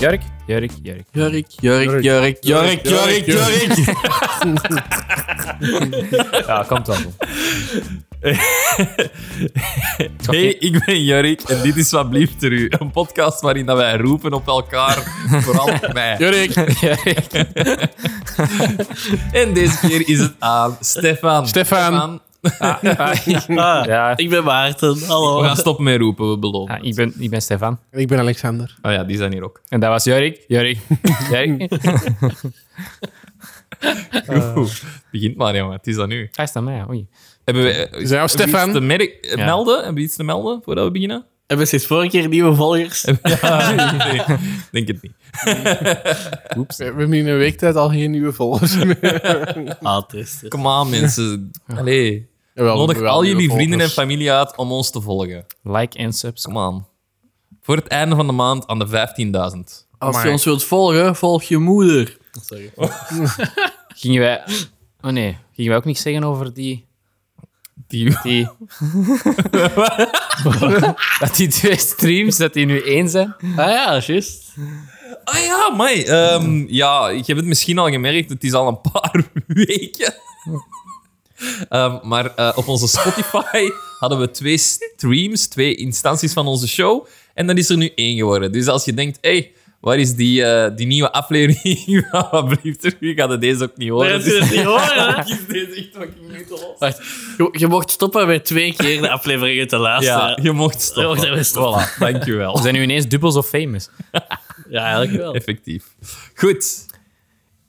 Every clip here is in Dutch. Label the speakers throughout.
Speaker 1: Jurk, Jurk, Jurk.
Speaker 2: Jurk, Jurk, Jurk, Jurk, Jurk, Jurk.
Speaker 1: Ja, komt wel.
Speaker 2: Hey, ik ben Jurk en dit is Wat Blieft Er U. Een podcast waarin dat wij roepen op elkaar, vooral op mij. Jurk. En deze keer is het aan Stefan.
Speaker 3: Stefan.
Speaker 1: Ja,
Speaker 4: Ah, Ik ben Maarten, hallo.
Speaker 2: We gaan stoppen met roepen, we beloven.
Speaker 3: Ah,
Speaker 1: ja, ik, ben, ik ben Stefan.
Speaker 3: Ik ben Alexander.
Speaker 2: Oh ja, die zijn hier ook.
Speaker 1: En dat was Jurk, Jurk, Jurk.
Speaker 2: Oeh, Begint maar, jongen. Het is aan u.
Speaker 1: Hij is aan mij, ja, oei.
Speaker 2: Hebben we, eh,
Speaker 3: Is dat jou,
Speaker 2: hebben we iets
Speaker 3: Stefan?
Speaker 2: te merk- eh,
Speaker 1: Ja.
Speaker 2: melden? Hebben we iets te melden voordat we beginnen?
Speaker 4: Hebben we sinds vorige keer nieuwe volgers?
Speaker 2: nee, denk het niet.
Speaker 3: We hebben in een week tijd al geen nieuwe volgers meer.
Speaker 4: Aantesten.
Speaker 2: Kom aan, mensen. Allee.
Speaker 3: Jawel, we
Speaker 2: Nodig
Speaker 3: hebben wel
Speaker 2: al
Speaker 3: nieuwe
Speaker 2: jullie vrienden en
Speaker 3: volgers.
Speaker 2: familie uit om ons te volgen.
Speaker 1: Like en subs.
Speaker 2: Kom aan. Voor het einde van de maand aan de 15.000.
Speaker 4: Als je
Speaker 3: Amai.
Speaker 4: ons wilt volgen, volg je moeder. Sorry.
Speaker 1: Gingen wij... Oh nee, gingen wij ook niks zeggen over die...
Speaker 2: Die-
Speaker 1: die... dat die twee streams, dat die nu één zijn.
Speaker 4: Ah ja, juist.
Speaker 2: Ah ja, mij. ja, ik heb het misschien al gemerkt. Het is al een paar weken. Ehm, maar eh, op onze Spotify hadden we twee streams, twee instanties van onze show. En dan is er nu één geworden. Dus als je denkt, hé, hey, waar is die, eh, die nieuwe aflevering? van Wat blieft er? Je gaat het deze ook niet horen. dus
Speaker 4: Maar dat je het niet horen, hè?
Speaker 2: is deze echt fucking nutteloos.
Speaker 4: Wacht, je, je mocht stoppen met twee keer de afleveringen te luisteren.
Speaker 2: Ja,
Speaker 4: Ja,
Speaker 2: je mocht
Speaker 4: Je mocht
Speaker 2: stoppen.
Speaker 4: even stoppen.
Speaker 2: Voilà, dankjewel.
Speaker 1: We zijn nu ineens dubbel zo famous.
Speaker 4: eigenlijk wel.
Speaker 2: Effectief. Goed.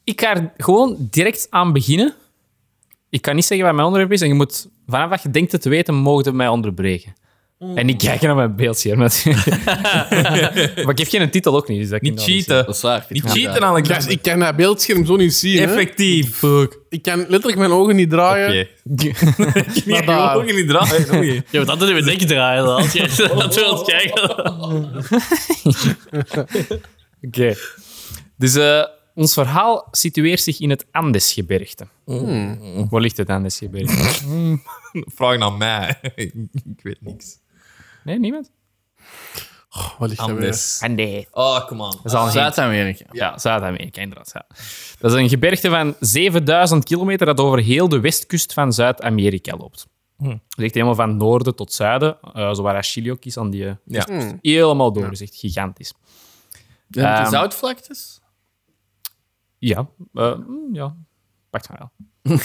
Speaker 1: Ik ga er gewoon direct aan beginnen. Ik kan niet zeggen wat mijn onderwerp is. En je moet, vanaf wat je denkt het te weten, mogen je mij onderbreken. En niet kijken naar mijn beeldscherm. natuurlijk. maar ik heb geen titel ook niet. Dus dat kan
Speaker 2: Niet
Speaker 1: ik nou
Speaker 2: cheaten.
Speaker 4: Dat is waar.
Speaker 2: Niet
Speaker 4: Ja.
Speaker 2: cheaten, Alexander.
Speaker 3: Gast, ik kan dat beeldscherm zo niet zien. Hè?
Speaker 2: Effectief.
Speaker 3: Ik kan letterlijk mijn ogen niet draaien.
Speaker 2: Oké.
Speaker 1: niet zeggen.
Speaker 2: Nee,
Speaker 3: daar.
Speaker 2: gewoon niet draaien. oei.
Speaker 4: Je moet altijd even denken draaien dan, als je dat wilt kijken.
Speaker 1: Oké. Dus eh, ons verhaal situeert zich in het Andesgebergte. Waar ligt het Andesgebergte?
Speaker 2: Vraag naar mij. ik weet niks.
Speaker 1: Nee, niemand?
Speaker 3: Oh, wat ligt daar weer?
Speaker 2: Anders.
Speaker 1: Andes.
Speaker 2: Oh, come on.
Speaker 1: Dat is al een hint.
Speaker 4: Zuid-Amerika.
Speaker 1: Ja, Zuid-Amerika, inderdaad. ja. Dat is een gebergte van 7000 kilometer dat over heel de westkust van Zuid-Amerika loopt. Het ligt helemaal van noorden tot zuiden, eh zowaar als Chili ook is, aan die, eh,
Speaker 2: Hm. Ja.
Speaker 1: helemaal door. Dat is echt gigantisch.
Speaker 4: Ja.
Speaker 1: Ehm,
Speaker 4: Zoutvlaktes?
Speaker 1: Ja, eh, mm, ja. pakt maar wel.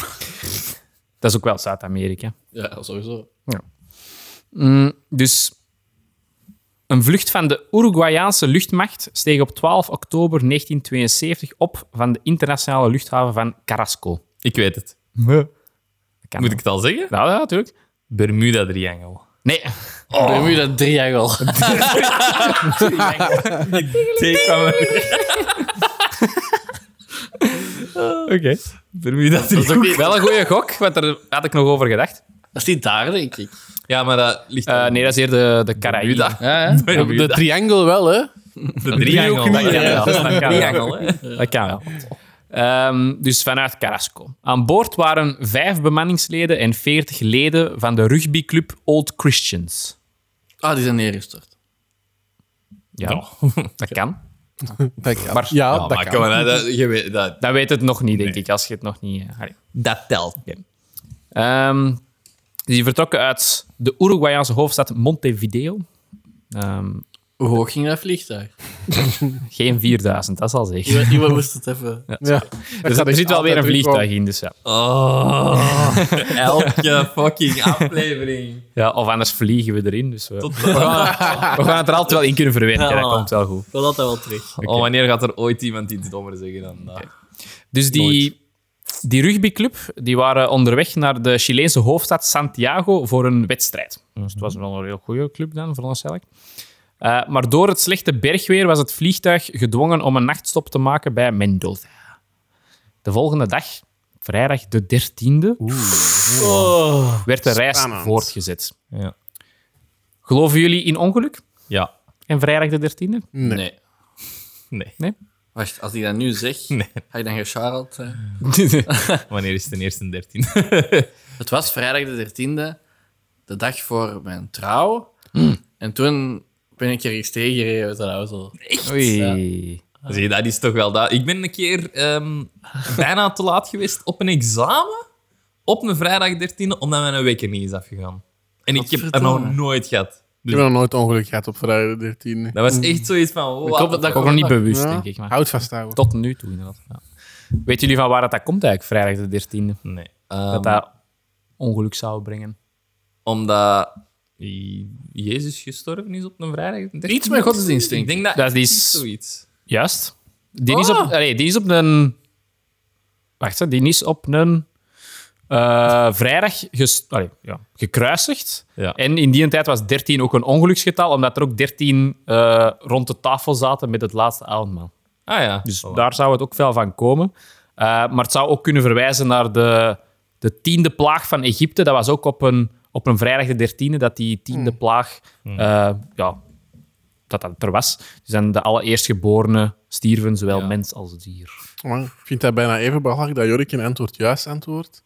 Speaker 1: dat is ook wel Zuid-Amerika.
Speaker 4: Ja, sowieso.
Speaker 1: Mm, dus een vlucht van de Uruguayaanse luchtmacht steeg op 12 oktober 1972 op van de internationale luchthaven van Carrasco.
Speaker 2: Ik weet het.
Speaker 1: Dat kan
Speaker 2: Moet ik het al zeggen?
Speaker 1: Ja, ja, natuurlijk.
Speaker 2: Bermuda-triangel.
Speaker 1: Nee,
Speaker 4: Oh. Bermuda Triangle.
Speaker 2: Take
Speaker 1: oké. Dat is
Speaker 2: Bermuda-triangel.
Speaker 1: ook wel een goede gok, want daar had ik nog over gedacht.
Speaker 4: Dat is niet daar, denk ik.
Speaker 2: Ja, maar dat ligt
Speaker 1: Eh, nee, dat is hier de, de Caraïben.
Speaker 2: Bermuda.
Speaker 4: Ja, hè?
Speaker 3: De
Speaker 2: Bermuda.
Speaker 3: triangle wel, hè?
Speaker 2: De driehoek.
Speaker 1: driehoek.
Speaker 2: Ja, ja,
Speaker 1: Ja,
Speaker 2: De
Speaker 1: ja.
Speaker 2: Triangel, hè.
Speaker 1: Dat kan wel. Eh, Ehm, dus vanuit Carrasco. Aan boord waren vijf bemanningsleden en veertig leden van de rugbyclub Old Christians.
Speaker 4: Ah, die zijn neergestort.
Speaker 1: Ja, dat kan.
Speaker 3: Dat kan. ja,
Speaker 2: Oh,
Speaker 3: dat
Speaker 2: maar
Speaker 3: kan.
Speaker 2: kom maar, dat- je weet dat.
Speaker 1: Dan weet het nog niet, denk ik, als je het nog niet... eh, allee.
Speaker 2: Dat telt.
Speaker 1: Ehm, die vertrokken uit de Uruguayaanse hoofdstad Montevideo. Ehm,
Speaker 4: Hoe hoog ging dat vliegtuig?
Speaker 1: geen 4000, dat is al zeker.
Speaker 4: Iemand, iemand moest het even...
Speaker 3: Ja.
Speaker 1: Dus
Speaker 3: gaat
Speaker 1: er
Speaker 3: echt
Speaker 1: zit wel weer een
Speaker 3: altijd
Speaker 1: vliegtuig in, dus ja.
Speaker 2: Oh, elke fucking aflevering.
Speaker 1: Ja, of anders vliegen we erin. Dus we, we gaan, we gaan het er altijd wel in kunnen verwerken. dat
Speaker 4: Ja, voilà.
Speaker 1: komt wel goed.
Speaker 4: We laten wel terug.
Speaker 2: Oh, wanneer gaat er ooit iemand iets dommer zeggen dan dat?
Speaker 1: Dus die, die rugbyclub die waren onderweg naar de Chileense hoofdstad Santiago voor een wedstrijd. Dus het was wel een heel goede club dan, veronderstel ik. Eh, maar door het slechte bergweer was het vliegtuig gedwongen om een nachtstop te maken bij Mendoza. De volgende dag, vrijdag de 13e, werd de reis
Speaker 3: Spannend.
Speaker 1: voortgezet.
Speaker 2: Ja.
Speaker 1: Geloven jullie in ongeluk?
Speaker 2: Ja.
Speaker 1: En vrijdag de 13e?
Speaker 4: Nee.
Speaker 2: Nee.
Speaker 4: Wacht, als ik dat nu zeg, ga je dan eh? gecharreld zijn?
Speaker 2: Wanneer is het de eerste 13?
Speaker 4: Het was
Speaker 1: Hmm.
Speaker 4: vrijdag de 13e, de dag voor mijn trouw. En toen ben ik er eens tegengereden uit de auto.
Speaker 1: Oei.
Speaker 2: Zie, dat is toch wel dat. Ik ben een keer ehm, bijna te laat geweest op een examen. Op een vrijdag 13 omdat mijn wekker niet is afgegaan. En ik heb het nog nooit gehad.
Speaker 3: Ik heb nog nooit ongeluk gehad op vrijdag de 13e.
Speaker 2: Dat was echt zoiets van... Wow,
Speaker 4: hoop dat dat
Speaker 1: Ik ook nog niet bewust,
Speaker 3: Ja,
Speaker 1: denk ik. Maar
Speaker 3: Houd vasthouden.
Speaker 1: tot nu toe, inderdaad. Ja. Weten jullie van waar dat, dat komt eigenlijk, vrijdag de 13e?
Speaker 2: Nee.
Speaker 1: Dat dat ongeluk zou brengen.
Speaker 2: Omdat I- Jezus gestorven is op een vrijdag. 13e.
Speaker 1: Iets met godsdienst, denk
Speaker 2: Ik denk dat,
Speaker 1: Dat
Speaker 2: is
Speaker 1: is...
Speaker 2: zoiets.
Speaker 1: Juist. Die is op... allee, die is op een... Wacht, hè. die is op een... eh, vrijdag ges- allee, ja, gekruisigd.
Speaker 2: Ja.
Speaker 1: En in die tijd was 13 ook een ongeluksgetal, omdat er ook 13 eh, rond de tafel zaten met het laatste avondmaal.
Speaker 2: Ah ja.
Speaker 1: Dus daar zou het ook veel van komen. Eh, maar het zou ook kunnen verwijzen naar de, de tiende plaag van Egypte. Dat was ook op een, op een vrijdag de dertiende dat die tiende plaag eh, ja, dat dat er was. Dus dan de allereerstgeborenen stierven, zowel
Speaker 2: Ja.
Speaker 1: mens als dier.
Speaker 3: Maar ik vind dat bijna even belachelijk dat Jorik een antwoord juist antwoordt.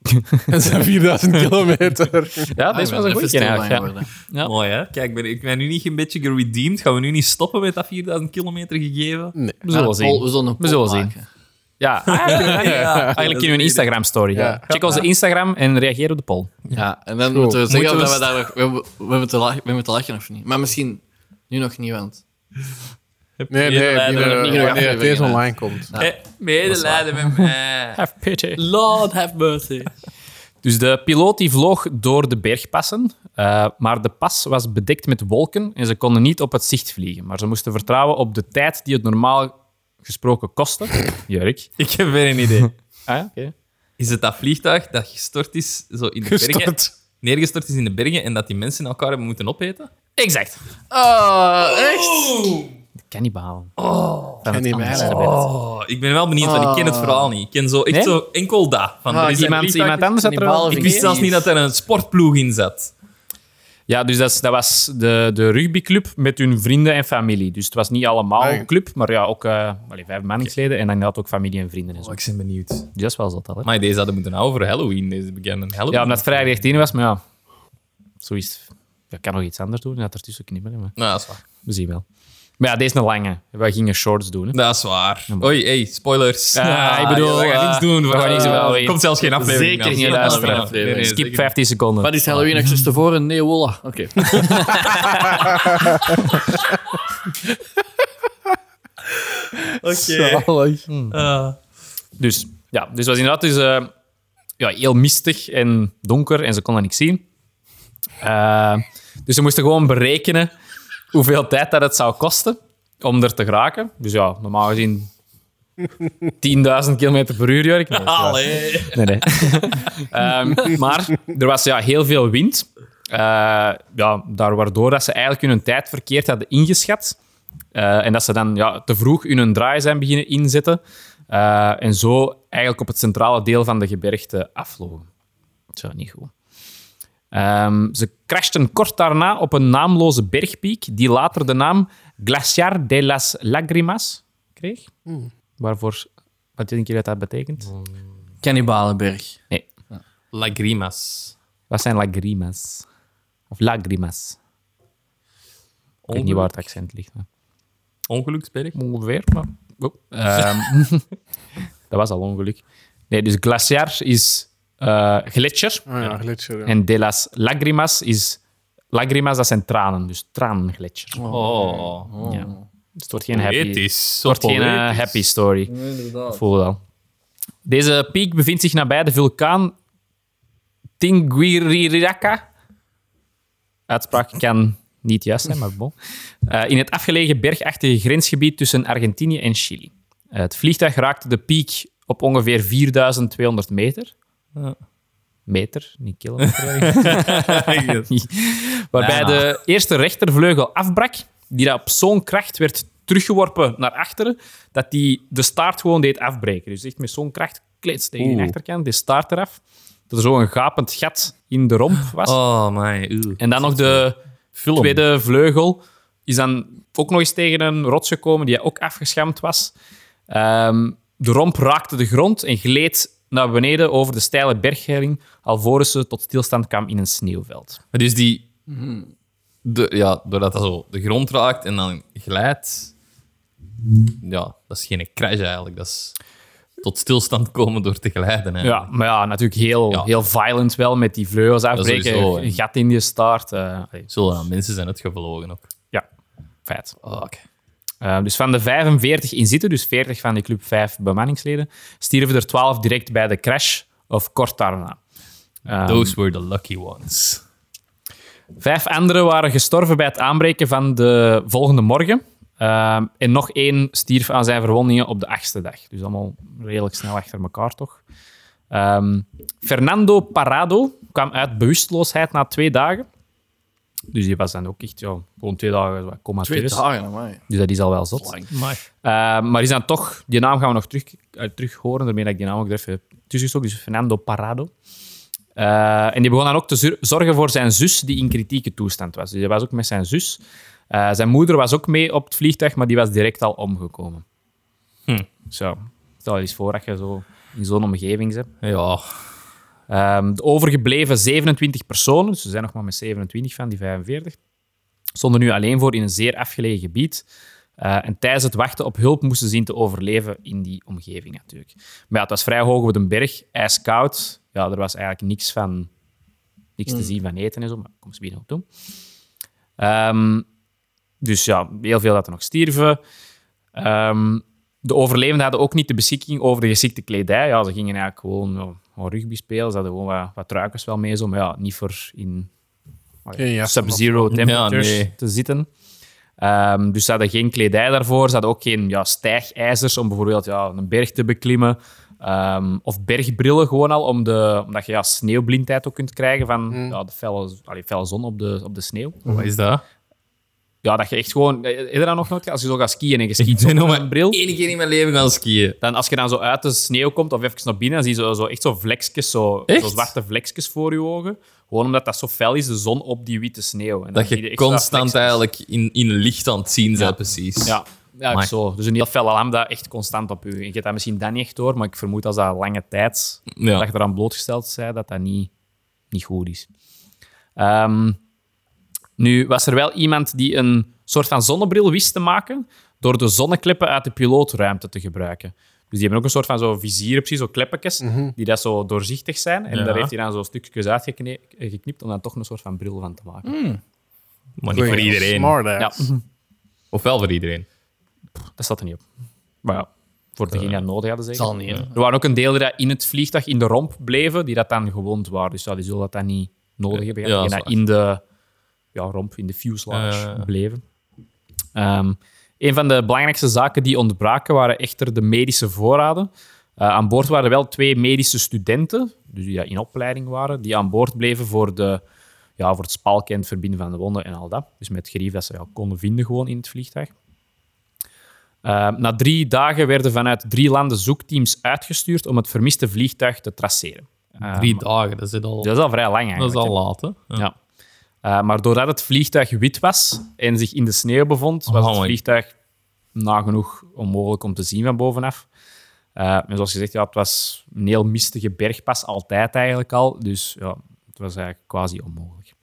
Speaker 3: en zijn 4000 kilometer.
Speaker 1: Ja, dat is wel een
Speaker 4: Ah, Even
Speaker 1: goeie
Speaker 4: stil
Speaker 1: eigenlijk.
Speaker 4: bij
Speaker 1: ja.
Speaker 4: worden.
Speaker 1: Ja.
Speaker 2: Mooi, hè? Kijk, ik ben, ik ben nu niet een beetje geredeemd. Gaan we nu niet stoppen met dat 4000 kilometer gegeven?
Speaker 3: Nee.
Speaker 1: We zullen zien.
Speaker 4: Ah, We zullen een
Speaker 1: We zullen
Speaker 4: poll
Speaker 1: zien.
Speaker 4: maken.
Speaker 1: Ja, ah, ja, ja. eigenlijk kunnen we een Instagram-story.
Speaker 3: Ja.
Speaker 1: ja. Check onze Instagram en reageer op de poll.
Speaker 4: Ja, en dan moeten we zeggen
Speaker 1: Moeten we
Speaker 4: dat we
Speaker 1: st-
Speaker 4: daar nog... We, hebben- we, hebben te lachen, we hebben te lachen of niet. Maar misschien nu nog niet, want...
Speaker 3: Nee, nee,
Speaker 2: Medelijden
Speaker 3: die, eh,
Speaker 2: met-
Speaker 4: niet genoeg
Speaker 3: wanneer het
Speaker 4: afleveringen,
Speaker 3: deze
Speaker 4: hè.
Speaker 3: online komt.
Speaker 4: Ja.
Speaker 2: Eh, Medelijden met mij.
Speaker 1: Have pity.
Speaker 4: Lord have mercy.
Speaker 1: Dus de piloot die vloog door de bergpassen, eh, maar de pas was bedekt met wolken en ze konden niet op het zicht vliegen. Maar ze moesten vertrouwen op de tijd die het normaal gesproken kostte. Jurk.
Speaker 2: Ik heb geen idee.
Speaker 1: Ah, ja, oké.
Speaker 2: Is het dat vliegtuig dat gestort is zo in de bergen? Neergestort is in de bergen en dat die mensen elkaar hebben moeten opeten?
Speaker 1: Exact.
Speaker 4: Oh, echt?
Speaker 1: Cannibalen.
Speaker 3: Cannibalen.
Speaker 2: Oh, ik ben wel benieuwd, want ik ken het verhaal niet. Ik ken zo, echt
Speaker 1: Ah. Nee? Ah,
Speaker 2: zo enkel dat. Van, er is een
Speaker 1: iemand,
Speaker 2: vliegtuig-
Speaker 1: iemand anders had er
Speaker 4: Cannibalen
Speaker 1: wel-
Speaker 4: vind
Speaker 2: Ik wist zelfs niet dat er een sportploeg in zat.
Speaker 1: Ja, dus dat, is- dat was de, de rugbyclub met hun vrienden en familie. Dus het was niet allemaal
Speaker 3: Ah, ja.
Speaker 1: een club, maar ja, ook eh allee, vijf manningsleden en dan had ook familie en vrienden en zo.
Speaker 2: ik ben benieuwd.
Speaker 1: Dus dat is wel zot, al, hè?
Speaker 2: Maar deze hadden moeten houden voor Halloween. Deze bekende Halloween.
Speaker 1: Ja, omdat het vrijdag 13 was, maar ja, zo is het. Je kan nog iets anders doen, dat ertussen knibbelen, maar...
Speaker 2: Nou, dat is waar.
Speaker 1: We zien wel. Maar ja, deze is een lange. Wij gingen shorts doen. Hè.
Speaker 2: Dat is waar. Oei, hey, spoilers.
Speaker 1: Ja,
Speaker 2: Ah,
Speaker 1: ik bedoel,
Speaker 2: we gaan
Speaker 1: eh,
Speaker 2: niks doen. We
Speaker 1: we gaan
Speaker 2: gaan niks
Speaker 1: niks doen.
Speaker 2: Er komt zelfs geen aflevering.
Speaker 4: Zeker
Speaker 2: aan.
Speaker 4: geen
Speaker 2: Nee, nee,
Speaker 1: aflevering.
Speaker 2: nee, nee, nee, nee,
Speaker 1: Skip
Speaker 2: zeker.
Speaker 1: 15 seconden.
Speaker 4: Wat is Halloween nog tevoren? Nee, wolla. Oké.
Speaker 3: Zalig.
Speaker 1: Dus ja, dus het was inderdaad dus, eh, ja, heel mistig en donker en ze konden niks zien. Eh, dus ze moesten gewoon berekenen hoeveel tijd dat het zou kosten om er te geraken. Dus ja, normaal gezien 10.000 km per uur, Jurk. Nee, dat is waar.
Speaker 2: Allee.
Speaker 1: Nee, nee. Ehm, maar er was ja, heel veel wind. Eh, ja, daar waardoor dat ze eigenlijk hun tijd verkeerd hadden ingeschat. Eh, en dat ze dan ja, te vroeg hun draai zijn beginnen inzetten. Eh, en zo eigenlijk op het centrale deel van de gebergte afvlogen. Zo, niet goed. Ehm, ze crashten kort daarna op een naamloze bergpiek, die later de naam Glaciar de las Lagrimas kreeg. Waarvoor, wat denk je dat dat betekent?
Speaker 4: Cannibalenberg.
Speaker 1: Nee,
Speaker 2: Lagrimas.
Speaker 1: Wat zijn lagrimas? Of lagrimas? Ik weet niet waar het accent ligt. hè.
Speaker 2: Ongeluksberg.
Speaker 1: Ongeveer, maar... Oh, ehm, dat was al ongeluk. Nee, dus glaciar is eh gletsjer.
Speaker 3: Ah ja, gletsjer. ja.
Speaker 1: En de las lagrimas is... Lagrimas, dat zijn tranen. Dus tranengletsjer.
Speaker 2: Oh.
Speaker 1: Ja. Dus het wordt geen happy...
Speaker 2: Poëtisch.
Speaker 1: Het wordt geen eh,
Speaker 2: Poëtisch.
Speaker 1: happy story. Ik voel het al. Deze piek bevindt zich nabij de vulkaan Tinguiriraca. Uitspraak kan niet juist zijn, maar bon. Eh, in het afgelegen bergachtige grensgebied tussen Argentinië en Chili. Eh, het vliegtuig raakte de piek op ongeveer 4200 meter. Meter, niet kilometer. Waarbij
Speaker 2: Ja.
Speaker 1: de eerste rechtervleugel afbrak, die dat op zo'n kracht werd teruggeworpen naar achteren, dat die de staart gewoon deed afbreken. Dus echt met zo'n kracht klets tegen de
Speaker 2: Oeh.
Speaker 1: achterkant, de staart eraf. Dat er zo'n gapend gat in de romp was.
Speaker 2: Oh, my. Ew.
Speaker 1: En dan nog de tweede vleugel is dan ook nog eens tegen een rots gekomen die ook afgeschaamd was. Ehm, de romp raakte de grond en gleed naar beneden over de steile berghelling, alvorens ze tot stilstand kwam in een sneeuwveld.
Speaker 2: Maar Dus die, de, ja, doordat dat zo de grond raakt en dan glijdt. Ja, dat is geen crash eigenlijk. Dat is tot stilstand komen door te glijden. Hè.
Speaker 1: Ja, maar ja, natuurlijk heel,
Speaker 2: Ja.
Speaker 1: heel violent wel met die vleugels afbreken.
Speaker 2: sowieso, hè.
Speaker 1: een gat in je staart. eh, allee,
Speaker 2: Zullen dan mensen zijn uitgevlogen ook.
Speaker 1: ja, feit.
Speaker 2: Oh,
Speaker 1: Eh, dus van de 45 inzitten, dus 40 van die club 5 bemanningsleden, stierven er 12 direct bij de crash of kort daarna. Ehm,
Speaker 2: Those were the lucky ones.
Speaker 1: Vijf anderen waren gestorven bij het aanbreken van de volgende morgen. Ehm, en nog één stierf aan zijn verwondingen op de achtste dag. Dus allemaal redelijk snel achter elkaar, toch? Ehm, Fernando Parado kwam uit bewusteloosheid na twee dagen. Dus die was dan ook echt ja, gewoon twee dagen
Speaker 4: Twee
Speaker 1: comateus.
Speaker 4: dagen, amai.
Speaker 1: Dus dat is al wel zot. Eh, maar is dan toch, die naam gaan we nog terug, eh, terug horen, daarmee dat ik die naam ook er even tussen gestoken, dus Fernando Parado. Eh, en die begon dan ook te zur- zorgen voor zijn zus, die in kritieke toestand was. Dus hij was ook met zijn zus. Eh, zijn moeder was ook mee op het vliegtuig, maar die was direct al omgekomen.
Speaker 2: Hm.
Speaker 1: Zo, stel je eens voor dat je zo in zo'n omgeving zit.
Speaker 2: Ja,
Speaker 1: Ehm, de overgebleven 27 personen, dus ze zijn nog maar met 27 van die 45, stonden nu alleen voor in een zeer afgelegen gebied. Eh, en tijdens het wachten op hulp moesten ze zien te overleven in die omgeving natuurlijk. Maar ja, het was vrij hoog op de berg, ijskoud. Ja, er was eigenlijk niks, van, niks
Speaker 3: Mm.
Speaker 1: te zien van eten en zo, maar kom ze binnen op toe. Ehm, dus ja, heel veel dat er nog stierven. Ehm, de overlevenden hadden ook niet de beschikking over de geschikte kledij. Ja, ze gingen eigenlijk gewoon, ja, gewoon rugby spelen. Ze hadden gewoon wat, wat truikers wel mee, zo, maar ja, niet voor in
Speaker 3: Geen jas.
Speaker 1: sub-zero temperatures
Speaker 2: Ja, nee.
Speaker 1: te zitten. Ehm, dus ze hadden geen kledij daarvoor. Ze hadden ook geen ja, stijgijzers om bijvoorbeeld ja, een berg te beklimmen. Ehm, of bergbrillen gewoon al, om de, omdat je ja, sneeuwblindheid ook kunt krijgen van ja, de felle, allee, felle zon op de, op de sneeuw.
Speaker 2: wat is dat?
Speaker 1: Ja, dat je echt gewoon... eh, Heb je dat nog nooit? gehad? Als je zo gaat skiën en je skiet
Speaker 2: ben
Speaker 1: zonder
Speaker 2: nog maar
Speaker 1: een bril...
Speaker 2: Eén keer in mijn leven gaan skiën.
Speaker 1: Dan als je dan zo uit de sneeuw komt of even naar binnen, dan zie je zo, zo echt zo vlekjes, zo,
Speaker 2: Echt?
Speaker 1: zo zwarte vlekjes voor je ogen. Gewoon omdat dat zo fel is, de zon op die witte sneeuw. En dan
Speaker 2: Dat
Speaker 1: zie
Speaker 2: je
Speaker 1: echt zo dat
Speaker 2: constant
Speaker 1: vlekjes.
Speaker 2: eigenlijk in, in licht aan het zien bent, precies.
Speaker 1: Ja, ja
Speaker 2: Amai.
Speaker 1: zo. Dus een heel felle lambda echt constant op u. En je hebt dat misschien dan niet echt door, maar ik vermoed als dat lange tijd
Speaker 2: Ja.
Speaker 1: dat je eraan blootgesteld bent, dat dat niet, niet goed is. Ehm, nu was er wel iemand die een soort van zonnebril wist te maken door de zonnekleppen uit de pilootruimte te gebruiken. Dus die hebben ook een soort van zo vizier, precies, zo kleppetjes, die dat zo doorzichtig zijn. En
Speaker 2: Mhm. Ja.
Speaker 1: daar heeft hij dan zo stukjes uitgeknipt om dan toch een soort van bril van te maken.
Speaker 2: Mm. Maar niet voor iedereen.
Speaker 3: Smart
Speaker 1: Ja,
Speaker 3: ass.
Speaker 2: Of wel voor iedereen.
Speaker 1: dat staat er niet op. Maar ja, voor degenen die dat nodig hadden, zeker.
Speaker 4: Zal niet, hè.
Speaker 1: Er waren ook een deel die dat in het vliegtuig in de romp bleven, die dat dan gewond waren. Dus ja, die zullen dat dan niet nodig hebben.
Speaker 2: Ja,
Speaker 1: gehad. die
Speaker 2: dat is
Speaker 1: dat in de ja, romp, in de fuselage
Speaker 2: Ja.
Speaker 1: bleven. Ehm, een van de belangrijkste zaken die ontbraken waren echter de medische voorraden. Eh, aan boord waren wel twee medische studenten, dus die dat in opleiding waren, die aan boord bleven voor, de, ja, voor het spalken en het verbinden van de wonden en al dat. Dus met het gerief dat ze ja, konden vinden gewoon in het vliegtuig. Eh, na drie dagen werden vanuit drie landen zoekteams uitgestuurd om het vermiste vliegtuig te traceren. Eh,
Speaker 2: Drie dagen, dat is al,
Speaker 1: dat is al vrij lang
Speaker 2: dat
Speaker 1: eigenlijk.
Speaker 2: is al
Speaker 1: hè.
Speaker 2: laat. Hè? Ja.
Speaker 1: Ja. Eh, maar doordat het vliegtuig wit was en zich in de sneeuw bevond, was
Speaker 2: Oh
Speaker 1: het
Speaker 2: my.
Speaker 1: vliegtuig nagenoeg onmogelijk om te zien van bovenaf. Eh, en zoals gezegd, ja, het was een heel mistige bergpas, altijd eigenlijk al. Dus ja, het was eigenlijk quasi onmogelijk.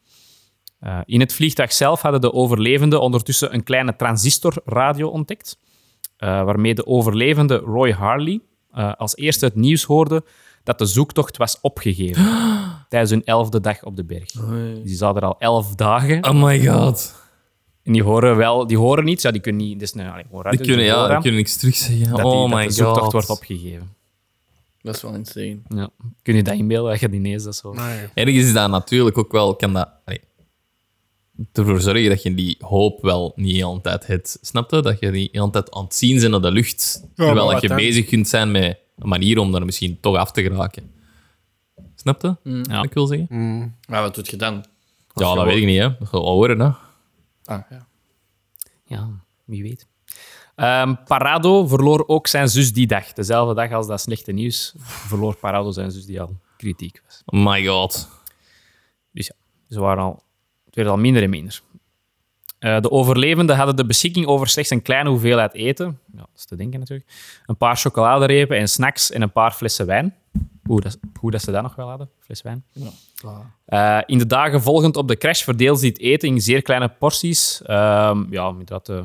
Speaker 1: Eh, in het vliegtuig zelf hadden de overlevenden ondertussen een kleine transistorradio ontdekt, eh, waarmee de overlevende Roy Harley eh, als eerste het nieuws hoorde dat de zoektocht was opgegeven tijdens hun elfde dag op de berg. Dus die zaten er al elf dagen.
Speaker 2: Oh my god.
Speaker 1: En die horen wel, die horen niets. Ja, die kunnen niet. Dus, nee, allee, horen uit,
Speaker 2: Die
Speaker 1: dus
Speaker 2: kunnen, ja,
Speaker 1: horen
Speaker 2: die
Speaker 1: aan
Speaker 2: kunnen niks terugzeggen.
Speaker 1: dat, die,
Speaker 2: oh
Speaker 1: dat
Speaker 2: my
Speaker 1: de zoektocht
Speaker 2: god.
Speaker 1: wordt opgegeven.
Speaker 4: Dat is wel insane.
Speaker 1: Ja. Kun je dat inbeelden? Dat je die ineens dat zo.
Speaker 3: Nee.
Speaker 2: Ergens is dat natuurlijk ook wel... Kan dat, allee, ervoor zorgen dat je die hoop wel niet heel de tijd hebt. Snap je? Dat je die heel de tijd aan het zien bent in de lucht. terwijl
Speaker 3: maar
Speaker 2: dat je
Speaker 3: wat dan?
Speaker 2: bezig kunt zijn met een manier om daar misschien toch af te geraken. Snap je?
Speaker 1: Ja.
Speaker 2: Wat ik wil zeggen?
Speaker 4: Maar wat doet je dan?
Speaker 2: Ja, dat weet ik niet, hè. Dat gaat wel worden, hè. Oh
Speaker 4: Ah, ja.
Speaker 1: Ja, wie weet. Ehm, Parado verloor ook zijn zus die dag. Dezelfde dag als dat slechte nieuws verloor Parado zijn zus die al kritiek was.
Speaker 2: Oh my god.
Speaker 1: Dus ja, ze waren al, het werd al minder en minder. Eh, de overlevenden hadden de beschikking over slechts een kleine hoeveelheid eten. Ja, dat is te denken natuurlijk. Een paar chocoladerepen en snacks en een paar flessen wijn. Hoe dat, hoe dat ze dat nog wel hadden, fles wijn. Eh, in de dagen volgend op de crash verdeelde ze het eten in zeer kleine porties. Ehm, ja, om dat eh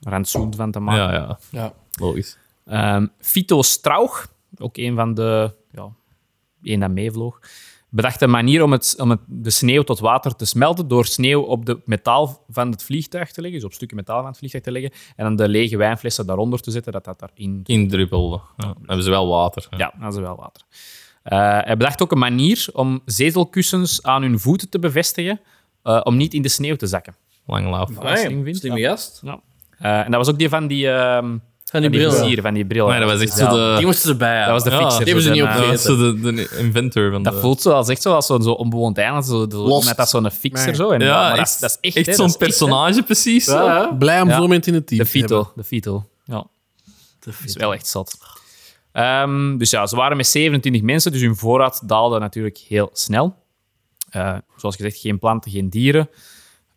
Speaker 1: rantsoen van te maken.
Speaker 2: Ja, ja.
Speaker 4: Ja.
Speaker 2: Logisch.
Speaker 1: Ehm Fito Strauch, ook een van de... Ja, één dat meevloog. Bedacht een manier om, het, om het, de sneeuw tot water te smelten door sneeuw op het metaal van het vliegtuig te leggen, dus op stukken metaal van het vliegtuig te leggen, en dan de lege wijnflessen daaronder te zetten, dat dat daarin...
Speaker 2: Indruppelde. Ja. Dan hebben ze wel water.
Speaker 1: Ja, dat is wel water. Eh, hij bedacht ook een manier om zetelkussens aan hun voeten te bevestigen, eh, om niet in de sneeuw te zakken.
Speaker 2: Lang laaf.
Speaker 1: Ah, slim
Speaker 4: Slim
Speaker 1: vindt,
Speaker 4: Slimme gast.
Speaker 1: Ja. Eh, en dat was ook die van die, ehm
Speaker 4: Gaan
Speaker 1: van
Speaker 4: die
Speaker 1: die
Speaker 4: brillen.
Speaker 1: vizier, van die bril.
Speaker 2: Nee, dat was echt zo
Speaker 1: Ja.
Speaker 2: de...
Speaker 4: Die moesten erbij.
Speaker 1: Dat was de
Speaker 2: Ja,
Speaker 1: fixer.
Speaker 2: die
Speaker 4: hebben
Speaker 1: zo
Speaker 4: ze niet
Speaker 1: zijn, eh,
Speaker 2: Dat was zo de, de inventor van
Speaker 1: Dat
Speaker 2: de...
Speaker 1: voelt zoals echt zoals zo'n zo onbewoond eiland. Zo, de-
Speaker 4: Lost.
Speaker 1: Net als zo'n fixer.
Speaker 3: Nee.
Speaker 1: Zo. En,
Speaker 2: ja,
Speaker 1: maar dat,
Speaker 2: echt,
Speaker 1: is- dat is echt,
Speaker 2: echt
Speaker 1: hè,
Speaker 2: zo'n
Speaker 1: dat is echt, hè.
Speaker 2: personage precies. zo.
Speaker 4: Ja, hè?
Speaker 3: Blij om
Speaker 1: Ja.
Speaker 3: zo'n moment in het team
Speaker 1: de
Speaker 3: te hebben.
Speaker 1: Vito. De Vito. Ja,
Speaker 4: De
Speaker 1: dat is
Speaker 4: fixer.
Speaker 1: wel echt zat. Ehm, dus ja, ze waren met 27 mensen, dus hun voorraad daalde natuurlijk heel snel. Eh, zoals gezegd, geen planten, geen dieren.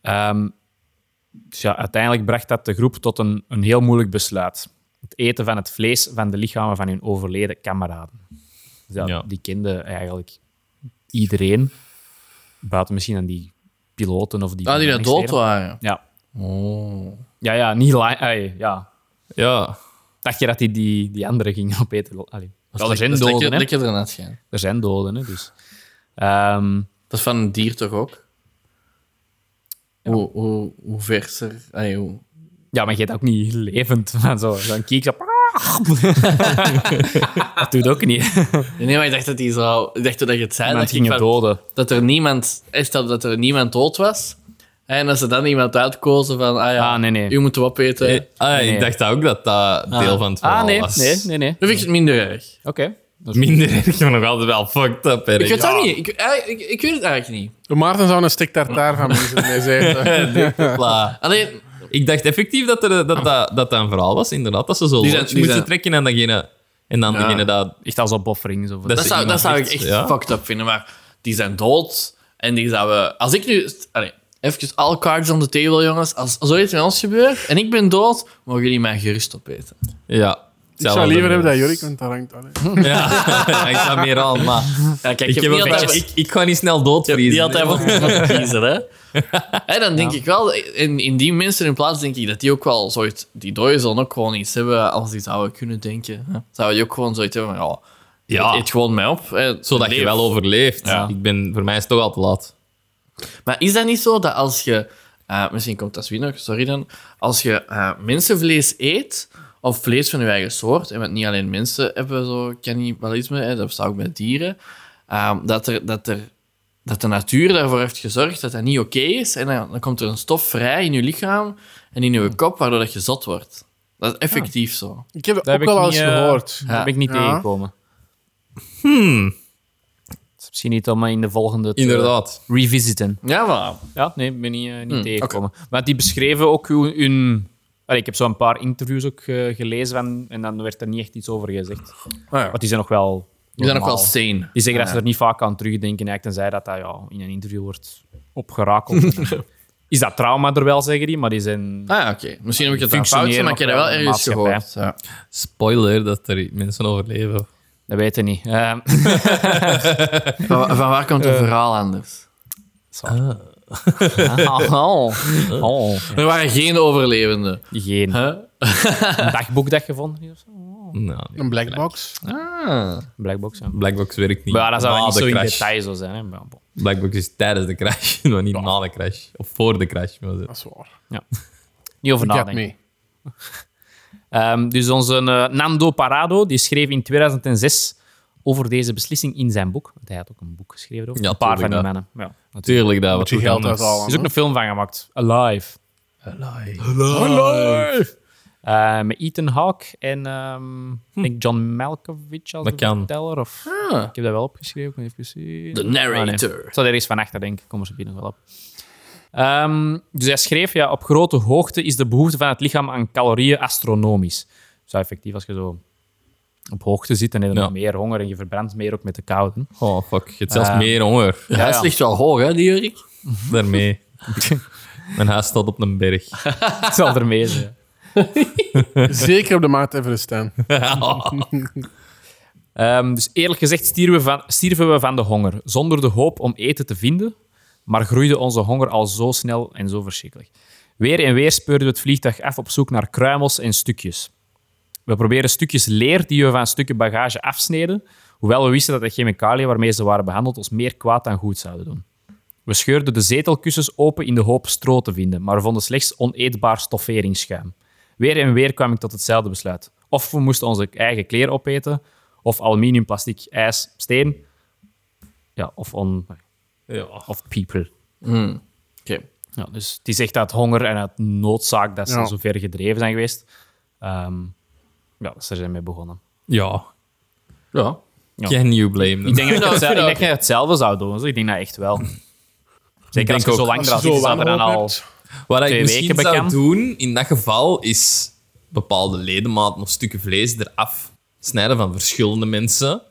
Speaker 1: Ehm, dus ja, uiteindelijk bracht dat de groep tot een, een heel moeilijk besluit. Het eten van het vlees van de lichamen van hun overleden kameraden. Dus ja,
Speaker 2: Ja.
Speaker 1: Die kenden eigenlijk iedereen, buiten misschien aan die piloten of die...
Speaker 4: Ah, die dat dood
Speaker 1: bemanningsleden.
Speaker 4: waren.
Speaker 1: Ja.
Speaker 4: Oh.
Speaker 1: ja, ja, niet... li- ai, ja.
Speaker 2: Ja.
Speaker 1: Dacht je dat die, die, die andere ging opeten? Allee. Wel, er zijn
Speaker 4: Dat is
Speaker 1: doden,
Speaker 4: lekker-
Speaker 1: hè.
Speaker 4: lekkerder dan het schijnt.
Speaker 1: Er zijn doden, hè, dus... Ehm,
Speaker 4: Dat is van een dier toch ook? Hoe, hoe, hoe verser... Allee, hoe...
Speaker 1: Ja, maar je hebt ook niet levend van zo. Zo'n kiek zo... dat doet ook niet.
Speaker 4: Nee, maar ik dacht dat hij zo... Ik dacht dat je het zei.
Speaker 1: Iemand
Speaker 4: dat ik
Speaker 1: ging
Speaker 4: van-
Speaker 1: doden.
Speaker 4: dat er niemand, is dat, dat er niemand dood was. En als ze dan iemand uitkozen van, ah ja,
Speaker 1: Ah, nee, nee.
Speaker 4: u moet hem opeten.
Speaker 2: Eh, ah,
Speaker 1: Nee.
Speaker 2: Ik dacht ook dat dat deel van het verhaal
Speaker 1: Ah, nee.
Speaker 2: was.
Speaker 1: Nee, nee, nee.
Speaker 4: Dan vind ik het minder erg.
Speaker 1: Oké. Dat is-
Speaker 2: Minder erg, maar nog altijd wel fucked up. hè.
Speaker 4: Ik weet
Speaker 2: Ja.
Speaker 4: dat niet. Ik, eh, ik, ik weet het eigenlijk niet.
Speaker 3: De Maarten zou een stuk tartaar van mensen mee zijn.
Speaker 2: Hopla.
Speaker 4: Alleen,
Speaker 2: Ik dacht effectief dat er, eh, dat, dat, dat dat een verhaal was, inderdaad. Dat ze zo
Speaker 4: Die zijn-
Speaker 2: lunch
Speaker 4: die
Speaker 2: moesten
Speaker 4: zijn-
Speaker 2: trekken en degene... En dan degene dat...
Speaker 1: Echt als opoffering. Zo voor
Speaker 2: Dat
Speaker 4: dat
Speaker 2: is
Speaker 4: zou, dat
Speaker 2: iemand
Speaker 4: zou ik
Speaker 2: echt-
Speaker 4: echt
Speaker 2: ja.
Speaker 4: fucked up vinden. Maar die zijn dood. En die zouden... Als ik nu... Allee, even all cards on the table, jongens. Als zoiets met ons gebeurt en ik ben dood, mogen jullie mij gerust opeten.
Speaker 2: Ja.
Speaker 3: Ik zou liever hebben
Speaker 1: dus.
Speaker 3: dat Jorik, want daar hangt alleen.
Speaker 1: Hm.
Speaker 2: Ja, ik zou meer aan, maar...
Speaker 4: Ja, kijk,
Speaker 2: Ik,
Speaker 4: je
Speaker 2: heb
Speaker 4: hebt
Speaker 2: ook-
Speaker 4: niet altijd-
Speaker 2: ik, ik ga niet snel doodvriezen.
Speaker 4: Die had hij wel moeten kiezen, hè? En dan denk ik wel, in, in die mensen hun plaats denk ik dat die ook wel zoiets, die dooien zullen ook gewoon iets hebben als die zouden kunnen denken. hè. Zou je ook gewoon zoiets hebben van, ja,
Speaker 2: Ja.
Speaker 4: eet gewoon mij op. hè,
Speaker 2: Zodat
Speaker 4: leef.
Speaker 2: je wel overleeft.
Speaker 4: Ja.
Speaker 2: Ik ben, voor mij is het toch al te laat.
Speaker 4: Maar is dat niet zo dat als je, eh, misschien komt dat weer nog, sorry dan, als je eh, mensenvlees eet, of vlees van je eigen soort, en want niet alleen mensen hebben zo cannibalisme, hè, dat bestaat ook bij dieren, ehm, dat, er, dat, er, dat de natuur daarvoor heeft gezorgd dat dat niet oké is, en dan, dan komt er een stof vrij in je lichaam en in je kop, waardoor dat je zot wordt. Dat is effectief zo.
Speaker 3: Ik heb dat
Speaker 1: heb
Speaker 3: ook
Speaker 1: ik
Speaker 3: wel
Speaker 1: niet,
Speaker 3: eens
Speaker 1: eh,
Speaker 3: gehoord.
Speaker 1: Daar ben ik niet
Speaker 3: Ja.
Speaker 1: tegengekomen.
Speaker 4: Hmm.
Speaker 1: Dat is misschien niet om in de volgende te
Speaker 2: Inderdaad.
Speaker 1: revisiten.
Speaker 4: Ja, maar...
Speaker 1: Ja, nee, ik ben niet, eh, niet tegengekomen. Want die beschreven ook hun... hun- Allee, ik heb zo een paar interviews ook eh, gelezen van, en dan werd er niet echt iets over gezegd. Want die zijn nog wel...
Speaker 4: Je bent ook wel
Speaker 1: normaal.
Speaker 4: sane.
Speaker 1: Die zeggen dat ze er niet vaak aan terugdenken, eigenlijk, tenzij dat dat ja, in een interview wordt opgerakeld. is dat trauma er wel, zeggen die, maar die zijn...
Speaker 4: Ah, ja, oké. Misschien heb ik het aan fout,
Speaker 1: Functioneren
Speaker 4: maar ik heb dat
Speaker 1: nog
Speaker 4: wel
Speaker 1: wel in de
Speaker 4: ergens gehoord.
Speaker 1: maatschappij.
Speaker 4: Ja.
Speaker 2: Spoiler dat er mensen overleven.
Speaker 1: Dat weten niet. Ehm,
Speaker 4: Van, wa- van waar komt
Speaker 1: Eh.
Speaker 4: het verhaal anders?
Speaker 1: oh, oh.
Speaker 4: Er waren geen overlevenden.
Speaker 1: Geen
Speaker 4: Huh?
Speaker 1: dagboek dat gevonden is of zo.
Speaker 2: Nou,
Speaker 3: Een blackbox.
Speaker 4: Ah.
Speaker 1: Blackbox, ja.
Speaker 2: Blackbox werkt niet.
Speaker 1: Maar dat zou
Speaker 2: na
Speaker 1: niet
Speaker 2: de
Speaker 1: zo in
Speaker 2: crash.
Speaker 1: detail zo zijn. Hè. Maar bon.
Speaker 2: Blackbox is tijdens de crash, maar niet na de crash. Of voor de crash. Maar zo.
Speaker 3: Dat is waar.
Speaker 1: Niet over
Speaker 3: Ik heb
Speaker 1: nadenken.
Speaker 3: mee.
Speaker 1: Ehm, dus onze eh, Nando Parado die schreef in 2006 over deze beslissing in zijn boek. Want hij had ook een boek geschreven over.
Speaker 2: Ja,
Speaker 1: een paar van die
Speaker 2: tuurlijk,
Speaker 1: mannen. Ja. Er
Speaker 2: Tuurlijk, dat wat
Speaker 3: je
Speaker 2: ook
Speaker 3: geld
Speaker 2: anders.
Speaker 3: uithalen.
Speaker 1: is ook een film van gemaakt. Alive. Eh, met Ethan Hawke en ehm, ik denk John Malkovich als
Speaker 2: Hm. Dat
Speaker 1: de
Speaker 2: kan.
Speaker 1: verteller. Of... Ik heb dat wel opgeschreven, ik moet even zien.
Speaker 4: Ah. De narrator.
Speaker 1: Ah, nee. Het zat ergens van achter, denk ik. Kom er zo binnen wel op. Ehm, dus hij schreef, ja, op grote hoogte is de behoefte van het lichaam aan calorieën astronomisch. Dus ja, effectief, als je zo op hoogte zit, dan heb je
Speaker 2: Ja.
Speaker 1: nog meer honger en je verbrandt meer ook met de koude.
Speaker 2: Oh, fuck. Je hebt zelfs
Speaker 1: Ah.
Speaker 2: meer honger.
Speaker 4: Ja, het ligt wel hoog, hè, die Jurik?
Speaker 2: Daarmee. Mijn huis staat op een berg.
Speaker 1: Het zal ermee zijn.
Speaker 3: Zeker op de Maat Everest staan.
Speaker 2: Oh.
Speaker 1: Ehm, dus eerlijk gezegd stierven we, van, stierven we van de honger, zonder de hoop om eten te vinden, maar groeide onze honger al zo snel en zo verschrikkelijk. Weer en weer speurden we het vliegtuig af op zoek naar kruimels en stukjes. We proberen stukjes leer die we van stukken bagage afsneden, hoewel we wisten dat de chemicaliën waarmee ze waren behandeld ons meer kwaad dan goed zouden doen. We scheurden de zetelkussens open in de hoop stro te vinden, maar we vonden slechts oneetbaar stofferingsschuim. Weer en weer kwam ik tot hetzelfde besluit. Of we moesten onze eigen kleren opeten, of aluminium, plastic, ijs, steen. Ja, of, on,
Speaker 2: Ja.
Speaker 1: of people.
Speaker 4: Oké.
Speaker 1: Ja, dus het is echt uit honger en uit noodzaak dat ze
Speaker 3: Ja.
Speaker 1: zo ver gedreven zijn geweest. Ehm, ja, ze zijn mee begonnen.
Speaker 2: ja.
Speaker 4: Ja.
Speaker 2: Can you blame them?
Speaker 1: Ik denk dat je
Speaker 4: Ja, ik
Speaker 1: hetzelfde, ik
Speaker 4: vind dat
Speaker 1: denk dat je hetzelfde zou doen. zo. Ik denk dat echt wel. Zeker als
Speaker 2: denk
Speaker 1: je zo
Speaker 2: ook,
Speaker 1: lang
Speaker 3: Als je
Speaker 1: eraan
Speaker 3: zo
Speaker 1: zit, zou er dan
Speaker 3: wanhoop
Speaker 1: al...
Speaker 3: hebt.
Speaker 2: Wat ik
Speaker 1: Twee
Speaker 2: misschien
Speaker 1: weken
Speaker 2: zou
Speaker 1: bekend.
Speaker 2: doen in dat geval is bepaalde ledematen of stukken vlees eraf snijden van verschillende mensen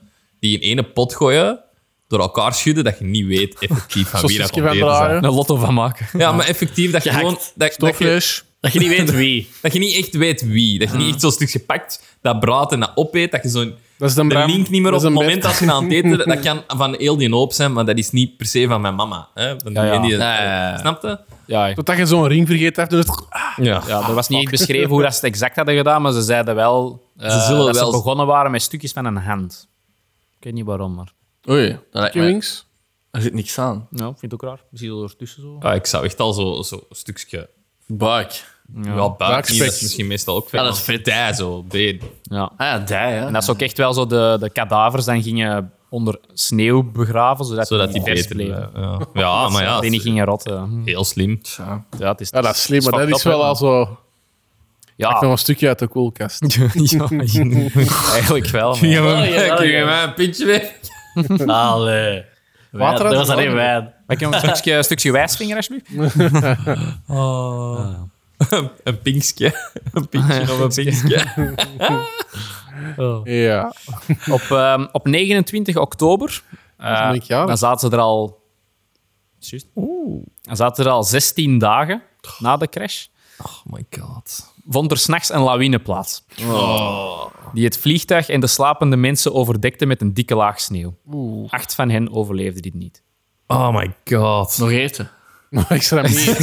Speaker 2: die in ene pot gooien, door elkaar schudden, dat je niet weet effectief van wie dat
Speaker 3: Sausjesje van
Speaker 2: probeert te zijn.
Speaker 3: draaien.
Speaker 1: Een lotto van maken.
Speaker 2: Ja, maar effectief dat je
Speaker 4: Gehakt.
Speaker 2: gewoon... Dat, dat, je,
Speaker 3: Stofvlees.
Speaker 1: Dat je niet weet wie. Ah.
Speaker 2: dat je niet echt weet wie. Dat je niet echt zo'n stukje pakt, dat braadt en dat opeet, dat je zo'n...
Speaker 3: Dat is een
Speaker 2: De
Speaker 3: Bram.
Speaker 2: link niet meer
Speaker 3: Dat
Speaker 2: op
Speaker 3: is
Speaker 2: het
Speaker 3: een
Speaker 2: moment
Speaker 3: Bert.
Speaker 2: dat je aan het eten... Dat kan van heel die hoop zijn, maar dat is niet per se van mijn mama. Hè? Van
Speaker 1: Ja, ja.
Speaker 2: diegene die-
Speaker 4: Ja, ja, ja.
Speaker 2: Snap je?
Speaker 1: Ja,
Speaker 3: Totdat je zo'n ring vergeten hebt. Dus...
Speaker 2: Ja.
Speaker 1: ja, er was niet echt beschreven hoe dat ze het exact hadden gedaan, maar ze zeiden wel eh,
Speaker 2: Ze zullen
Speaker 1: dat
Speaker 2: wel-
Speaker 1: ze begonnen waren met stukjes van een hand. Ik weet niet waarom, maar...
Speaker 4: Oei, dat lijkt
Speaker 3: Chicken
Speaker 4: mij...
Speaker 3: wings.
Speaker 4: Er zit niks aan.
Speaker 1: Ja, vind ik ook raar. Misschien zo ertussen zo.
Speaker 2: Ah, ik zou echt al zo'n zo een stukje...
Speaker 4: Buik.
Speaker 2: Ja, buik
Speaker 3: Buikspek.
Speaker 2: niet, dat is misschien meestal ook vet.
Speaker 4: Ja, dat is
Speaker 2: maar
Speaker 4: vet.
Speaker 2: Dij zo, been.
Speaker 1: Ja.
Speaker 4: Ah ja, die, hè.
Speaker 1: En dat ze ook echt wel zo de, de kadavers dan gingen onder sneeuw begraven, zodat,
Speaker 2: Zodat die
Speaker 1: vers
Speaker 2: beter
Speaker 1: bleven.
Speaker 2: blijven. Ja, ja maar ja,
Speaker 1: die niet
Speaker 2: dat is
Speaker 1: gingen rotten.
Speaker 2: heel slim.
Speaker 4: Tja.
Speaker 1: Ja, het is,
Speaker 3: Ja, dat is slim, maar
Speaker 1: fucked
Speaker 3: dat is
Speaker 1: up,
Speaker 3: wel
Speaker 1: hè. Ah.
Speaker 3: al zo...
Speaker 1: Ja,
Speaker 3: Nog een stukje uit de koelkast.
Speaker 1: Ja, eigenlijk wel. maar-
Speaker 4: maar- Oh, ja, ja.
Speaker 2: een pintje weg?
Speaker 4: Allee.
Speaker 3: Water
Speaker 4: dat
Speaker 3: uit
Speaker 4: was
Speaker 3: de
Speaker 4: alleen
Speaker 3: zon.
Speaker 4: wijn.
Speaker 1: Mag ik nog een stukje, stukje wijsvinger, alsjeblieft?
Speaker 2: Een pinkje. Een pinkje of een pinkje.
Speaker 3: Ja.
Speaker 1: Op, ehm, op 29 oktober, eh,
Speaker 3: ben ik jarig.
Speaker 1: dan zaten ze er al... Juist. Dan zaten er al 16 dagen na de crash.
Speaker 2: Oh my god. Oh.
Speaker 1: vond er s'nachts een lawine plaats. Die het vliegtuig en de slapende mensen overdekte met een dikke laag sneeuw. Acht van hen overleefden dit niet.
Speaker 2: Oh my god.
Speaker 4: Nog eten.
Speaker 3: Maar ik schrijf niet.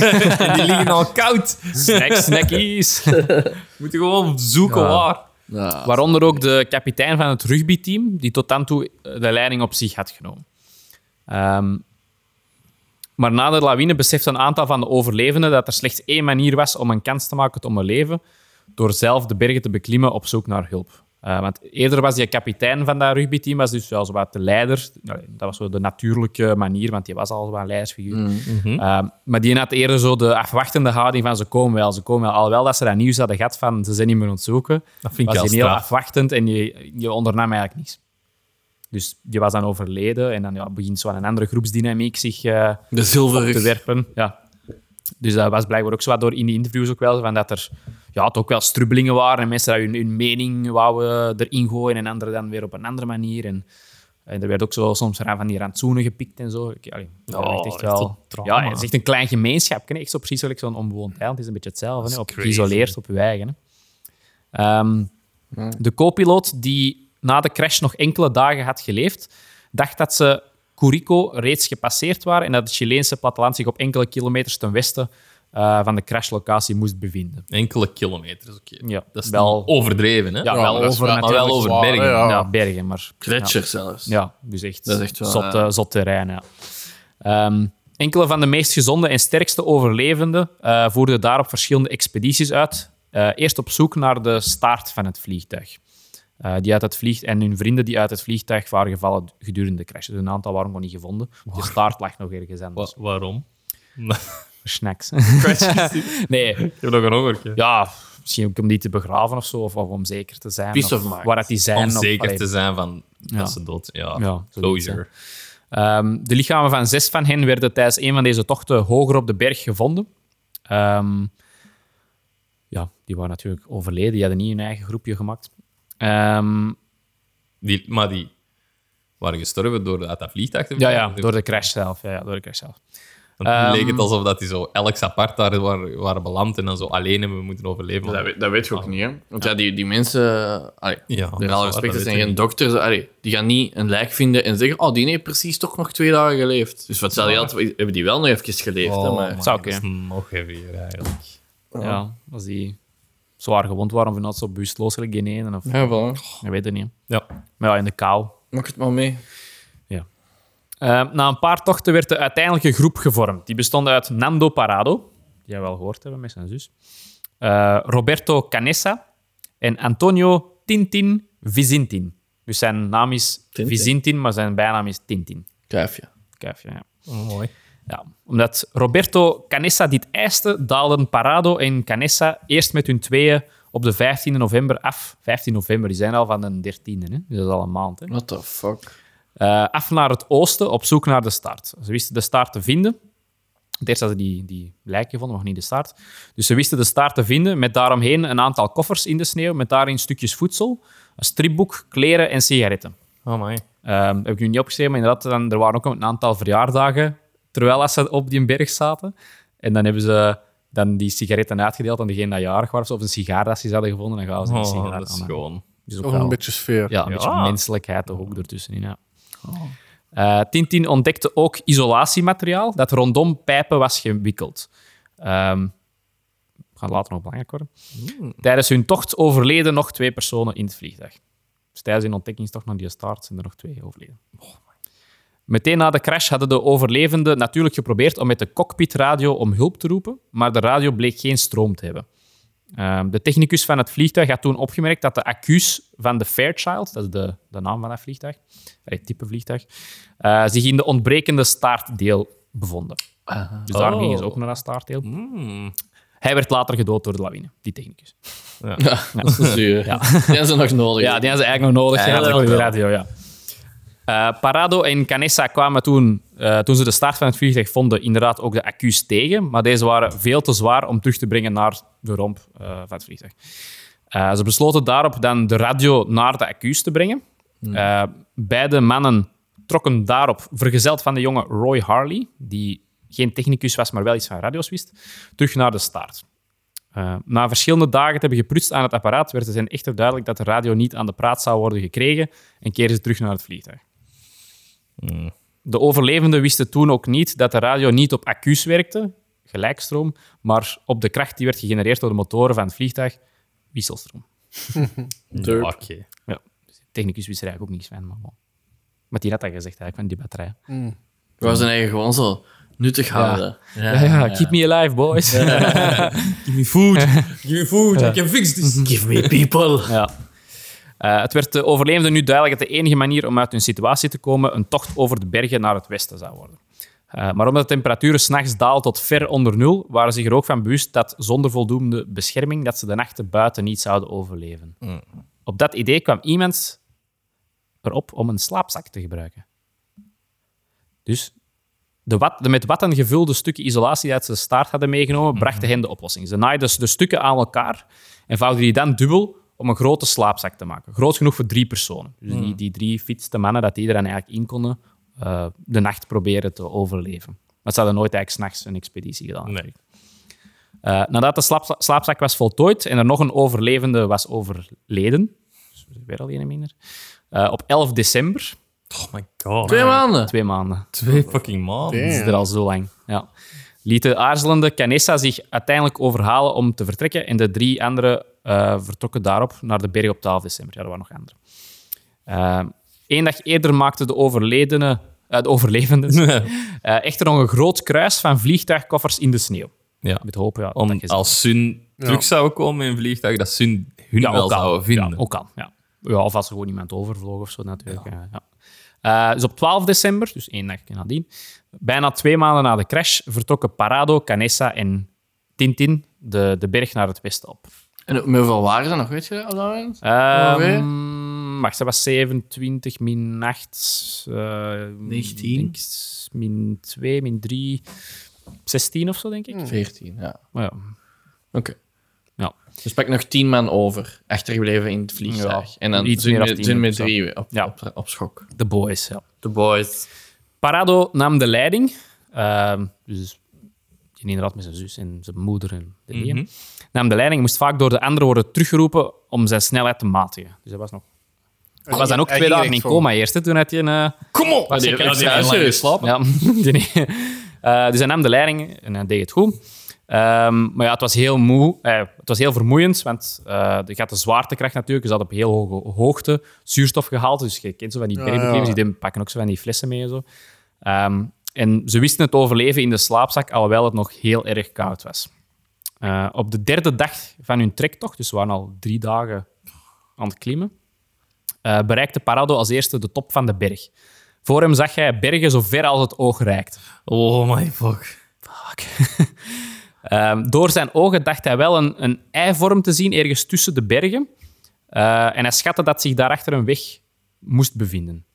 Speaker 2: Die liggen al koud.
Speaker 1: Snack, snackies.
Speaker 2: Moeten gewoon zoeken
Speaker 1: Ja.
Speaker 2: waar.
Speaker 4: Ja.
Speaker 1: Waaronder ook de kapitein van het rugbyteam, die tot dan toe eh, de leiding op zich had genomen. Ehm, maar na de lawine besefte een aantal van de overlevenden dat er slechts één manier was om een kans te maken te overleven, door zelf de bergen te beklimmen op zoek naar hulp. Eh, want eerder was die kapitein van dat rugbyteam, was dus wel zowat de leider. Nou, Dat was zo de natuurlijke manier, want die was al zo'n leidersfiguur.
Speaker 2: Mm, mhm.
Speaker 1: Ehm, maar die had eerder zo de afwachtende houding van ze komen wel, ze komen wel. Alhoewel dat ze dat nieuws hadden gehad van ze zijn niet meer ontzoeken,
Speaker 2: Dat vind ik
Speaker 1: was
Speaker 2: wel
Speaker 1: die heel
Speaker 2: straf.
Speaker 1: afwachtend en je, je ondernam eigenlijk niets. Dus die was dan overleden en dan ja, begint zo aan een andere groepsdynamiek zich... eh,
Speaker 4: De
Speaker 1: te
Speaker 4: zilverrug.
Speaker 1: werpen. Ja. Dus dat was blijkbaar ook zo wat door in die interviews ook wel, van dat er ja, het ook wel strubbelingen waren en mensen dat hun, hun mening wouden erin gooien en anderen dan weer op een andere manier. En, en er werd ook zo soms eraan van die rantsoenen gepikt en zo. Ik, allee, dat
Speaker 2: Oh,
Speaker 1: werd echt
Speaker 2: echt
Speaker 1: wel,
Speaker 2: een trauma.
Speaker 1: ja, het is echt een klein gemeenschap. hè. Echt zo precies gelijk zo'n onbewoond eiland. Het is een beetje hetzelfde. hè. Op,
Speaker 2: crazy.
Speaker 1: geïsoleerd op je eigen. Hè. Ehm, de co-piloot die na de crash nog enkele dagen had geleefd, dacht dat ze Curico reeds gepasseerd waren en dat het Chileense platteland zich op enkele kilometers ten westen eh, van de crashlocatie moest bevinden.
Speaker 2: Enkele kilometers, oké.
Speaker 1: Ja,
Speaker 2: Dat is
Speaker 1: wel-
Speaker 2: wel overdreven, hè?
Speaker 1: Ja, wel
Speaker 3: dat is
Speaker 1: over,
Speaker 2: maar wel
Speaker 1: natuurlijk
Speaker 2: over
Speaker 3: zwaar, hè,
Speaker 2: bergen.
Speaker 1: Ja,
Speaker 3: ja.
Speaker 1: bergen, maar...
Speaker 4: Gletsjer zelfs.
Speaker 1: Ja, dus echt,
Speaker 4: Dat is echt wel,
Speaker 1: zot,
Speaker 4: ja.
Speaker 1: eh, zot terrein. Ja. Ehm, enkele van de meest gezonde en sterkste overlevenden eh, voerden daarop verschillende expedities uit. Eh, eerst op zoek naar de staart van het vliegtuig. Eh, die uit het vlieg en hun vrienden die uit het vliegtuig waren gevallen gedurende de crash. Dus een aantal waren nog niet gevonden. De staart lag nog ergens
Speaker 2: Wa-
Speaker 1: anders.
Speaker 2: waarom?
Speaker 1: Snacks.
Speaker 2: Ik
Speaker 1: nee,
Speaker 2: heb nog een hongertje.
Speaker 1: ja, misschien ook om die te begraven of zo, of, of om zeker te zijn.
Speaker 4: Peace
Speaker 1: of
Speaker 4: of mind.
Speaker 1: Waar dat die zijn.
Speaker 2: Om
Speaker 1: of-
Speaker 2: zeker
Speaker 1: allee,
Speaker 2: te zijn van dat ze dood Ja,
Speaker 1: Ja, zoiets,
Speaker 2: closure.
Speaker 1: Ehm, de lichamen van zes van hen werden tijdens een van deze tochten hoger op de berg gevonden. Ehm, ja, die waren natuurlijk overleden. Die hadden niet hun eigen groepje gemaakt. Ehm,
Speaker 2: Die, maar die waren gestorven door dat, dat vliegtuig te
Speaker 1: ja, ja,
Speaker 2: vliegen.
Speaker 1: door de crash zelf. Ja, ja, door de crash zelf.
Speaker 2: En toen
Speaker 1: Ehm.
Speaker 2: leek het alsof dat die zo elk apart daar waren, waren beland en dan zo alleen hebben we moeten overleven.
Speaker 4: Dat Dus weet, dat weet je ook niet, hè? Want ja, die, die mensen, eh, allee,
Speaker 2: Ja, dat
Speaker 4: met
Speaker 2: is
Speaker 4: alle
Speaker 2: waar,
Speaker 4: respect,
Speaker 2: dat
Speaker 4: dat zijn
Speaker 2: weet
Speaker 4: geen
Speaker 2: ik
Speaker 4: dokters. Allee, die gaan niet een lijk vinden en zeggen: Oh, die heeft precies toch nog twee dagen geleefd. Dus wat zal je altijd, hebben die wel nog even geleefd? hè, maar,
Speaker 1: zou
Speaker 2: Oh, dat is
Speaker 1: kunnen.
Speaker 2: nog heavier eigenlijk.
Speaker 1: Ja, als die zwaar gewond waren vanuit zo bewusteloos gelijk geen ene. Of,
Speaker 4: Ja, voilà.
Speaker 1: Ik weet het niet.
Speaker 2: Ja.
Speaker 1: Maar ja, in de kou.
Speaker 4: Maak het maar mee.
Speaker 1: Eh, na een paar tochten werd de uiteindelijke groep gevormd. Die bestond uit Nando Parado, die jij wel gehoord hebben met zijn zus, eh, Roberto Canessa en Antonio Tintin Vizintin. Dus zijn naam is
Speaker 4: Tintin.
Speaker 1: Vizintin, maar zijn bijnaam is Tintin.
Speaker 4: Kuifje.
Speaker 1: Kuifje, ja.
Speaker 2: mooi.
Speaker 1: Ja, omdat Roberto Canessa dit eiste, daalden Parado en Canessa eerst met hun tweeën op de 15 november af. 15 november, die zijn al van de 13e, hè? dus dat is al een maand. Hè?
Speaker 4: What the fuck?
Speaker 1: Eh, af naar het oosten op zoek naar de staart. Ze wisten de staart te vinden. Het eerst hadden ze die, die lijken vonden, nog niet de staart. Dus ze wisten de staart te vinden, met daaromheen een aantal koffers in de sneeuw, met daarin stukjes voedsel, een stripboek, kleren en sigaretten.
Speaker 2: Oh, mooi.
Speaker 1: Ehm, heb ik nu niet opgeschreven, maar inderdaad, dan, er waren ook een aantal verjaardagen terwijl als ze op die berg zaten. En dan hebben ze dan die sigaretten uitgedeeld aan degene dat jarig was, of een sigaar dat ze hadden gevonden, dan gaven ze een sigaar
Speaker 2: Oh, dat is
Speaker 1: aan.
Speaker 2: gewoon.
Speaker 1: Dus ook
Speaker 3: Toch
Speaker 1: wel-
Speaker 3: een beetje sfeer.
Speaker 1: ja, een
Speaker 2: Ja.
Speaker 1: beetje menselijkheid toch ook ertussenin. Ja. Eh, Tintin ontdekte ook isolatiemateriaal dat rondom pijpen was gewikkeld. Ehm gaat later nog belangrijk worden. Tijdens hun tocht overleden nog twee personen in het vliegtuig. Dus tijdens hun ontdekkingstocht naar die staart zijn er nog twee overleden. Meteen na de crash hadden de overlevenden natuurlijk geprobeerd om met de cockpitradio om hulp te roepen, maar de radio bleek geen stroom te hebben. Ehm, de technicus van het vliegtuig had toen opgemerkt dat de accu's van de Fairchild, dat is de, de naam van dat vliegtuig, allee, het type vliegtuig, eh, zich in de ontbrekende staartdeel bevonden. Dus daarom gingen ze ook naar dat staartdeel. Hij werd later gedood door de lawine, die technicus.
Speaker 4: Ja, dat is zuur. Ja. Die hebben ze nog nodig.
Speaker 1: Ja, die hadden ze eigenlijk nog nodig. Ja,
Speaker 2: Eigenlijk
Speaker 1: voor de
Speaker 2: wel.
Speaker 1: radio, ja. Eh, Parado en Canessa kwamen toen, eh, toen ze de start van het vliegtuig vonden, inderdaad ook de accu's tegen. Maar deze waren veel te zwaar om terug te brengen naar de romp eh, van het vliegtuig. Eh, ze besloten daarop dan de radio naar de accu's te brengen. Eh, beide mannen trokken daarop, vergezeld van de jonge Roy Harley, die geen technicus was, maar wel iets van radio's wist, terug naar de staart. Eh, na verschillende dagen te hebben geprutst aan het apparaat, werd het hen echter duidelijk dat de radio niet aan de praat zou worden gekregen en keerden ze terug naar het vliegtuig. De overlevenden wisten toen ook niet dat de radio niet op accu's werkte, gelijkstroom, maar op de kracht die werd gegenereerd door de motoren van het vliegtuig, wisselstroom.
Speaker 2: Ja, Oké.
Speaker 1: Ja. Dus de Technicus wist er eigenlijk ook niks van, maar bon. Maar die had dat gezegd eigenlijk, van die batterij.
Speaker 4: We zijn eigen gewoon zo nuttig houden.
Speaker 1: Ja, ja, keep me alive, boys.
Speaker 2: Give me food. Give me food. I can fix this.
Speaker 4: Give me people.
Speaker 1: Ja. Eh, het werd de overlevenden nu duidelijk dat de enige manier om uit hun situatie te komen een tocht over de bergen naar het westen zou worden. Eh, maar omdat de temperaturen s'nachts daalden tot ver onder nul, waren ze zich er ook van bewust dat zonder voldoende bescherming dat ze de nachten buiten niet zouden overleven. Op dat idee kwam iemand erop om een slaapzak te gebruiken. Dus de, wat, de met watten gevulde stukken isolatie die uit de staart hadden meegenomen, brachten hen de oplossing. Ze naaiden dus de stukken aan elkaar en vouwden die dan dubbel om een grote slaapzak te maken. Groot genoeg voor drie personen. Dus die, die drie fietste mannen, dat die er dan eigenlijk in konden, eh, de nacht proberen te overleven. Maar ze hadden nooit eigenlijk s'nachts een expeditie gedaan.
Speaker 2: Nee.
Speaker 1: Eh, nadat de slaap- slaapzak was voltooid en er nog een overlevende was overleden, dus weer al een minder, eh, op 11 december,
Speaker 2: Oh my god.
Speaker 4: Twee maanden.
Speaker 1: twee maanden,
Speaker 2: Twee fucking maanden.
Speaker 1: is er al zo lang, ja, liet de aarzelende Canessa zich uiteindelijk overhalen om te vertrekken en de drie anderen eh, vertrokken daarop naar de berg op 12 december. Ja, er waren nog anderen. Eén dag eerder maakte de overledene, eh, de overlevenden eh, echter nog een groot kruis van vliegtuigkoffers in de sneeuw.
Speaker 2: Ja.
Speaker 1: Met hoop ja, dat
Speaker 2: Om,
Speaker 1: je ze-
Speaker 2: als Sun terug zou komen in een vliegtuig, dat Sun hun
Speaker 1: Ja,
Speaker 2: wel
Speaker 1: ook al.
Speaker 2: zouden vinden.
Speaker 1: Ja, ook al, ja. ja. Of als er gewoon iemand overvloog of zo natuurlijk. Ja. ja. Eh, dus op 12 december, dus één dag nadien, bijna twee maanden na de crash, vertrokken Parado, Canessa en Tintin de, de berg naar het westen op.
Speaker 4: En met hoeveel waren ze nog, weet je, op dat moment?
Speaker 1: Oh,
Speaker 4: Ongeveer?
Speaker 1: Ehm, wacht, dat was 27 min 8. eh
Speaker 4: 19.
Speaker 1: denk s- min 2, min 3. 16 of zo, denk ik.
Speaker 4: Veertien, ja. Oké.
Speaker 1: Maar ja, ja.
Speaker 4: Dus pak nog tien man over, achtergebleven in het vliegtuig.
Speaker 1: Ja,
Speaker 4: en dan
Speaker 1: iets
Speaker 4: zijn
Speaker 1: meer
Speaker 4: we-
Speaker 1: dan tien
Speaker 4: zijn we
Speaker 1: of
Speaker 4: met
Speaker 1: zo.
Speaker 4: drie op,
Speaker 1: Ja.
Speaker 4: op, op schok.
Speaker 1: The boys, ja.
Speaker 4: The boys.
Speaker 1: Parado nam de leiding. Eh, Ehm, dus die inderdaad met zijn zus en zijn moeder en de neef. Nam de leiding en moest vaak door de anderen worden teruggeroepen om zijn snelheid te matigen. Dus dat was nog... Hij was dan ook
Speaker 3: Hij
Speaker 1: twee
Speaker 3: ging
Speaker 1: dagen in
Speaker 3: echt
Speaker 1: coma eerst, hè, toen had je een... eh,
Speaker 2: Kom op!
Speaker 1: die-
Speaker 2: Als je
Speaker 1: die-
Speaker 2: lang
Speaker 1: serieus?
Speaker 2: geslapen.
Speaker 1: Ja, die niet. Eh, dus hij nam de leiding en hij deed het goed. Ehm, maar ja, het was heel moe. eh, het was heel vermoeiend, want eh je gaat de zwaartekracht natuurlijk. Ze hadden op heel hoge hoogte zuurstof gehaald. Dus je kent zo van die
Speaker 3: Ja,
Speaker 1: bergbeklimmers,
Speaker 3: ja.
Speaker 1: die doen- pakken ook zo van die flessen mee en zo. Ehm, en ze wisten het overleven in de slaapzak, alhoewel het nog heel erg koud was. Eh, op de derde dag van hun trektocht, dus ze waren al drie dagen aan het klimmen, eh, bereikte Parado als eerste de top van de berg. Voor hem zag hij bergen zo ver als het oog reikt.
Speaker 2: Oh my fuck.
Speaker 1: Ehm, door zijn ogen dacht hij wel een, een eivorm te zien ergens tussen de bergen. Eh, en hij schatte dat zich daarachter een weg moest bevinden.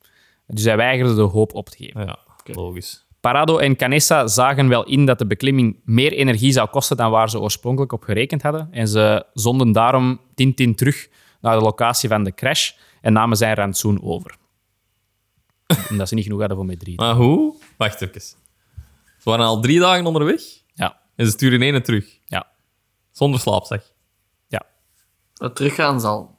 Speaker 1: Dus hij weigerde de hoop op te geven.
Speaker 2: Ja, logisch.
Speaker 1: Parado en Canessa zagen wel in dat de beklimming meer energie zou kosten dan waar ze oorspronkelijk op gerekend hadden. En ze zonden daarom Tintin terug naar de locatie van de crash en namen zijn rantsoen over. Omdat ze niet genoeg hadden voor met drie.
Speaker 2: Maar hoe? Wacht even. Ze waren al drie dagen onderweg
Speaker 1: Ja,
Speaker 2: en ze sturen één terug.
Speaker 1: ja,
Speaker 2: Zonder slaapzak.
Speaker 1: ja.
Speaker 4: Dat teruggaan zal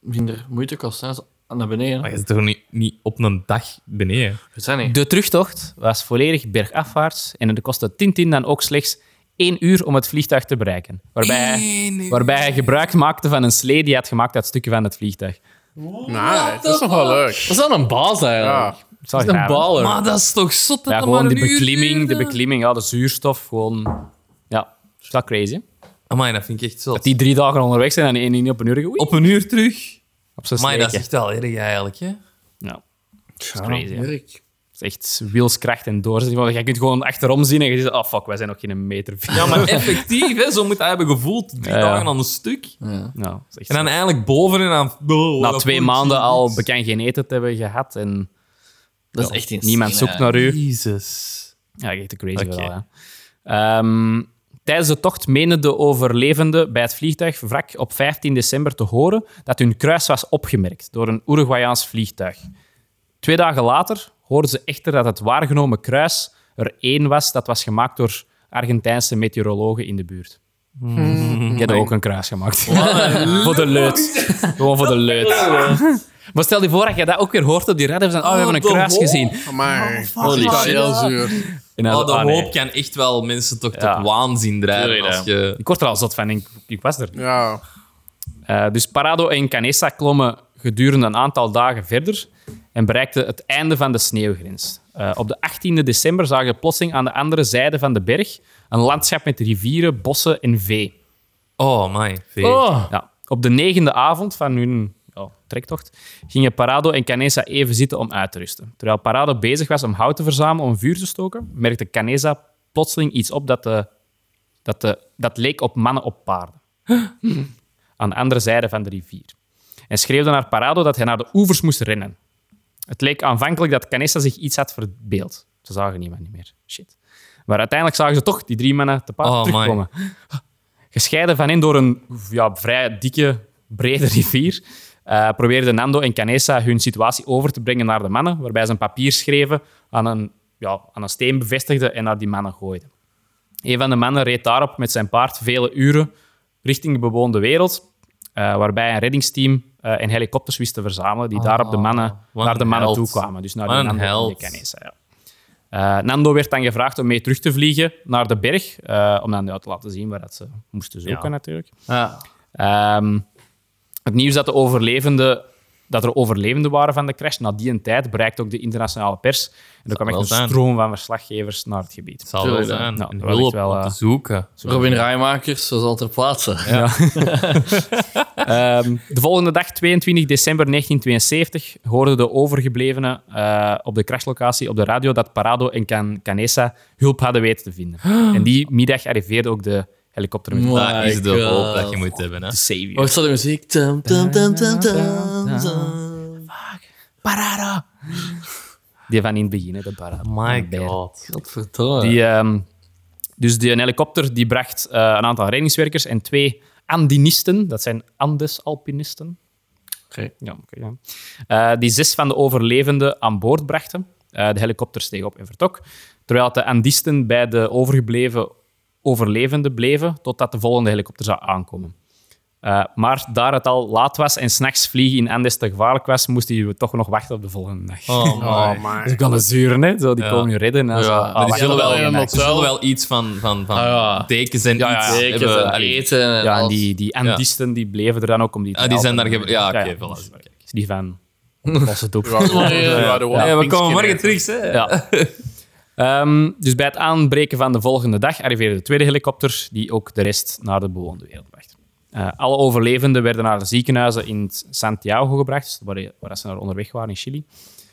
Speaker 4: minder moeite kosten. hè. Zo- Naar beneden.
Speaker 2: Maar je zit toch niet, niet op een dag beneden?
Speaker 4: We zijn niet.
Speaker 1: De terugtocht was volledig bergafwaarts en het kostte Tintin dan ook slechts één uur om het vliegtuig te bereiken. Waarbij hij, waarbij hij gebruik maakte van een slee die hij had gemaakt uit stukken van het vliegtuig.
Speaker 3: Nee, dat is nog wel leuk.
Speaker 4: Dat is wel een baas
Speaker 3: Ja.
Speaker 4: eigenlijk.
Speaker 1: Het zou
Speaker 4: Dat is een
Speaker 1: graag-
Speaker 4: baler.
Speaker 2: Maar dat is toch zot dat
Speaker 1: Ja,
Speaker 2: dat
Speaker 1: gewoon
Speaker 2: maar eh,
Speaker 1: de
Speaker 2: een uur
Speaker 1: beklimming, de
Speaker 2: duurde?
Speaker 1: beklimming, ja, de zuurstof, gewoon... Ja, is dat crazy?
Speaker 2: Amai, dat vind ik echt zot.
Speaker 1: Die drie dagen onderweg zijn en één niet op een uur gewipt.
Speaker 2: Op een uur terug?
Speaker 1: op zijn
Speaker 2: Maar dat is
Speaker 1: sleetje.
Speaker 2: echt wel erg eigenlijk, hè?
Speaker 1: Ja. Dat is crazy, hè.
Speaker 4: Erik.
Speaker 1: Dat is echt wilskracht en doorzetting. Want je kunt gewoon achterom zien en je zegt, oh fuck, wij zijn nog geen meter ver.
Speaker 2: Ja, maar effectief, hè? Zo moet hij hebben gevoeld. Drie
Speaker 1: Ja, ja.
Speaker 2: dagen aan een stuk.
Speaker 1: Nou, dat is echt
Speaker 2: En dan eigenlijk boven en dan... Oh,
Speaker 1: na
Speaker 2: dat
Speaker 1: twee
Speaker 2: voelt
Speaker 1: maanden
Speaker 2: je
Speaker 1: al
Speaker 2: niks.
Speaker 1: bekend geen eten te hebben gehad en
Speaker 4: Dat is echt insane.
Speaker 1: niemand zoekt naar u.
Speaker 2: Jezus.
Speaker 1: Ja, echt een crazy
Speaker 2: Oké.
Speaker 1: verhaal, hè. Ehm, tijdens de tocht menen de overlevenden bij het vliegtuigwrak op 15 december te horen dat hun kruis was opgemerkt door een Uruguayaans vliegtuig. Twee dagen later hoorden ze echter dat het waargenomen kruis er één was dat was gemaakt door Argentijnse meteorologen in de buurt. Die hadden ook een kruis gemaakt. voor de leut. Gewoon voor de leut. Maar stel je voor dat je dat ook weer hoort op die radio. Van, oh, we hebben een
Speaker 2: Ah, de
Speaker 1: kruis
Speaker 2: hoop.
Speaker 1: gezien.
Speaker 3: Maar dat is
Speaker 2: shit.
Speaker 3: heel zuur.
Speaker 1: En dan zo,
Speaker 2: Oh, de
Speaker 1: ah, nee.
Speaker 2: hoop kan echt wel mensen toch
Speaker 1: Ja.
Speaker 2: tot waanzin drijven.
Speaker 4: Tuurlijk,
Speaker 2: Als je...
Speaker 1: Ik word er al zot van. Ik, ik was er.
Speaker 3: Ja.
Speaker 1: Eh, dus Parado en Canessa klommen gedurende een aantal dagen verder en bereikten het einde van de sneeuwgrens. Eh, op de 18e december zagen we plotseling aan de andere zijde van de berg een landschap met rivieren, bossen en vee.
Speaker 2: Oh, my.
Speaker 4: Oh,
Speaker 1: Ja. Op de negende avond van hun ja, trektocht gingen Parado en Canessa even zitten om uit te rusten. Terwijl Parado bezig was om hout te verzamelen om vuur te stoken, merkte Canessa plotseling iets op dat, de, dat, de, dat leek op mannen op paarden. Aan de andere zijde van de rivier. En schreeuwde naar Parado dat hij naar de oevers moest rennen. Het leek aanvankelijk dat Canessa zich iets had verbeeld. Ze zagen niemand niet meer. Shit. Maar uiteindelijk zagen ze toch die drie mannen te paard
Speaker 2: Oh, my.
Speaker 1: terugkomen gescheiden van hen door een ja, vrij dikke, brede rivier, eh, probeerden Nando en Canessa hun situatie over te brengen naar de mannen, waarbij ze een papier schreven, aan een, ja, aan een steen bevestigden en naar die mannen gooiden. Een van de mannen reed daarop met zijn paard vele uren richting de bewoonde wereld, eh, waarbij een reddingsteam eh, en helikopters wist te verzamelen, die daarop de mannen,
Speaker 2: Ah, wat
Speaker 1: naar de
Speaker 2: een
Speaker 1: mannen
Speaker 2: held.
Speaker 1: toe kwamen. Dus naar
Speaker 2: Wat
Speaker 1: de
Speaker 2: een
Speaker 1: Nando en
Speaker 2: held.
Speaker 1: de Canessa. Ja. Eh, Nando werd dan gevraagd om mee terug te vliegen naar de berg, eh, om dan ja, te laten zien waar dat ze moesten zoeken natuurlijk.
Speaker 4: ja.
Speaker 1: Ehm, het nieuws dat, de overlevenden, dat er overlevenden waren van de crash na die tijd bereikte ook de internationale pers. En er kwam echt
Speaker 2: wel
Speaker 1: een
Speaker 2: zijn.
Speaker 1: stroom van verslaggevers naar het gebied.
Speaker 2: zal wel
Speaker 4: Tuurlijk,
Speaker 2: zijn.
Speaker 1: ja. Nou,
Speaker 2: Een
Speaker 1: dat was
Speaker 2: hulp
Speaker 1: echt wel,
Speaker 2: om
Speaker 1: eh,
Speaker 2: te zoeken.
Speaker 4: Robin Rijmakers, zo zal ter plaatse.
Speaker 1: Ehm, de volgende dag, 22 december 1972, hoorden de overgeblevenen eh, op de crashlocatie op de radio dat Parado en Can Canessa hulp hadden weten te vinden. En die middag arriveerde ook de helikopter met de
Speaker 2: Dat is de
Speaker 1: Oh,
Speaker 4: My
Speaker 2: hoop dat
Speaker 4: God.
Speaker 2: je moet hebben. Hè.
Speaker 1: Savior.
Speaker 4: Hoort zo de muziek? Tum, tum, tum, tum, tum, tum.
Speaker 1: Parado! Die van in het begin, hè, de Parado.
Speaker 2: My
Speaker 1: Beer.
Speaker 2: god.
Speaker 4: Godverdomme.
Speaker 2: eh,
Speaker 1: Die, ehm, dus die een helikopter die bracht eh, een aantal reddingswerkers en twee Andinisten, dat zijn Andesalpinisten.
Speaker 4: Oké.
Speaker 1: Ja, oké, ja. Eh, die zes van de overlevenden aan boord brachten. Eh, de helikopter steeg op en vertrok. Terwijl de Andisten bij de overgebleven overlevenden bleven totdat de volgende helikopter zou aankomen. Eh, maar daar het al laat was en s'nachts vliegen in Andes te gevaarlijk was, moesten we toch nog wachten op de volgende dag.
Speaker 2: Oh,
Speaker 3: Oh,
Speaker 2: my.
Speaker 1: Dat is
Speaker 3: maar.
Speaker 1: ook wel een zuren, hè? Zo, die
Speaker 2: Ja.
Speaker 1: komen je redden. En dan zo,
Speaker 2: Ja,
Speaker 1: ah,
Speaker 2: maar die
Speaker 1: wacht
Speaker 2: zullen
Speaker 1: op de
Speaker 2: wel, eh,
Speaker 1: volgende
Speaker 2: er
Speaker 1: nacht.
Speaker 2: zullen wel iets van, van, van
Speaker 4: Ah, ja.
Speaker 2: dekens en iets
Speaker 4: Zeker,
Speaker 2: hebben.
Speaker 4: van
Speaker 2: allee.
Speaker 4: eten en
Speaker 1: Ja, en
Speaker 4: alles.
Speaker 1: die, die Andisten die bleven er dan ook om die te
Speaker 2: Ah, die zijn daar...
Speaker 1: helpen.
Speaker 2: ge- Ja, oké,
Speaker 1: dat
Speaker 2: voilà.
Speaker 1: is- is Die van... Was het ook.
Speaker 4: Ja, ja, ja.
Speaker 2: Hey, we komen morgen terug, hè.
Speaker 1: Ja. Ehm, dus bij het aanbreken van de volgende dag arriveerde de tweede helikopter, die ook de rest naar de bewoonde wereld bracht. Eh, alle overlevenden werden naar de ziekenhuizen in Santiago gebracht, dus waar, waar ze naar onderweg waren in Chili.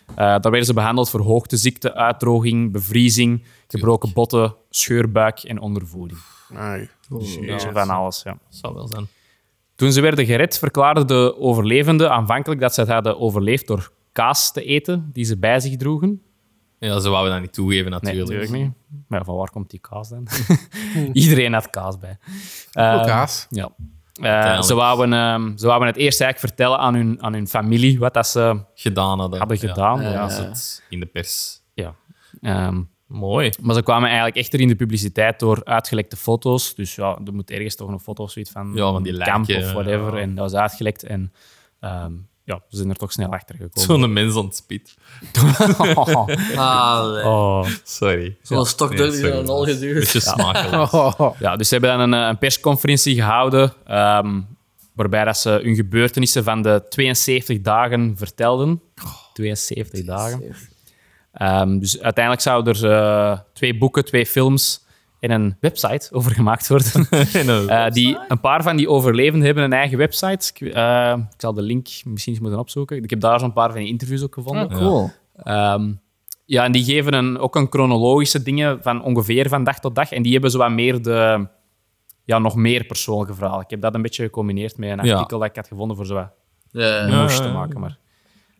Speaker 1: Eh, daar werden ze behandeld voor hoogteziekte, uitdroging, bevriezing, gebroken botten, scheurbuik en ondervoeding. Dus van alles, ja.
Speaker 2: Zou wel zijn.
Speaker 1: Toen ze werden gered, verklaarden de overlevenden aanvankelijk dat ze het hadden overleefd door kaas te eten die ze bij zich droegen.
Speaker 2: Ja, ze wouden dat niet toegeven,
Speaker 1: Nee,
Speaker 2: natuurlijk.
Speaker 1: natuurlijk niet. Maar ja, van waar komt die kaas dan? Iedereen had kaas bij. Eh,
Speaker 3: kaas.
Speaker 1: Ja. Eh, ze, wouden, ehm, ze wouden het eerst eigenlijk vertellen aan hun, aan hun familie wat dat ze
Speaker 2: Gedaan hadden.
Speaker 1: hadden
Speaker 2: Ja.
Speaker 1: gedaan.
Speaker 2: Ja,
Speaker 1: Ja.
Speaker 2: dat zit in de pers.
Speaker 1: Ja. Ehm,
Speaker 2: Mooi.
Speaker 1: maar ze kwamen eigenlijk echter in de publiciteit door uitgelekte foto's. Dus ja, er moet ergens toch een foto of zoiets van,
Speaker 2: Ja, van die
Speaker 1: een
Speaker 2: lijken,
Speaker 1: kamp of whatever. En dat was uitgelekt. En ehm, ja, ze zijn er toch snel achter gekomen.
Speaker 2: Zo'n mens aan het spit.
Speaker 1: oh,
Speaker 2: Sorry.
Speaker 4: Zo'n stok door die
Speaker 2: sorry,
Speaker 4: zo'n al
Speaker 2: dat is
Speaker 4: geduwd.
Speaker 2: Een beetje smakeloos.
Speaker 1: Ja, dus ze hebben dan een, eh, een persconferentie gehouden. ehm, waarbij dat ze hun gebeurtenissen van de 72 dagen vertelden. 72 dagen. Ehm, dus uiteindelijk zouden er eh, twee boeken, twee films en een website over gemaakt worden.
Speaker 2: En een-
Speaker 1: Eh, die, een paar van die overlevenden hebben een eigen website. Ik, eh, ik zal de link misschien eens moeten opzoeken. Ik heb daar zo'n paar van die interviews ook gevonden.
Speaker 4: Cool.
Speaker 1: Ehm, ja, en die geven een, ook een chronologische dingen van ongeveer van dag tot dag. En die hebben zo wat meer de... Ja, nog meer persoonlijke verhalen. Ik heb dat een beetje gecombineerd met een
Speaker 2: Ja.
Speaker 1: artikel dat ik had gevonden voor zo wat
Speaker 4: Ja.
Speaker 2: Ja.
Speaker 1: eh, moest te maken. Maar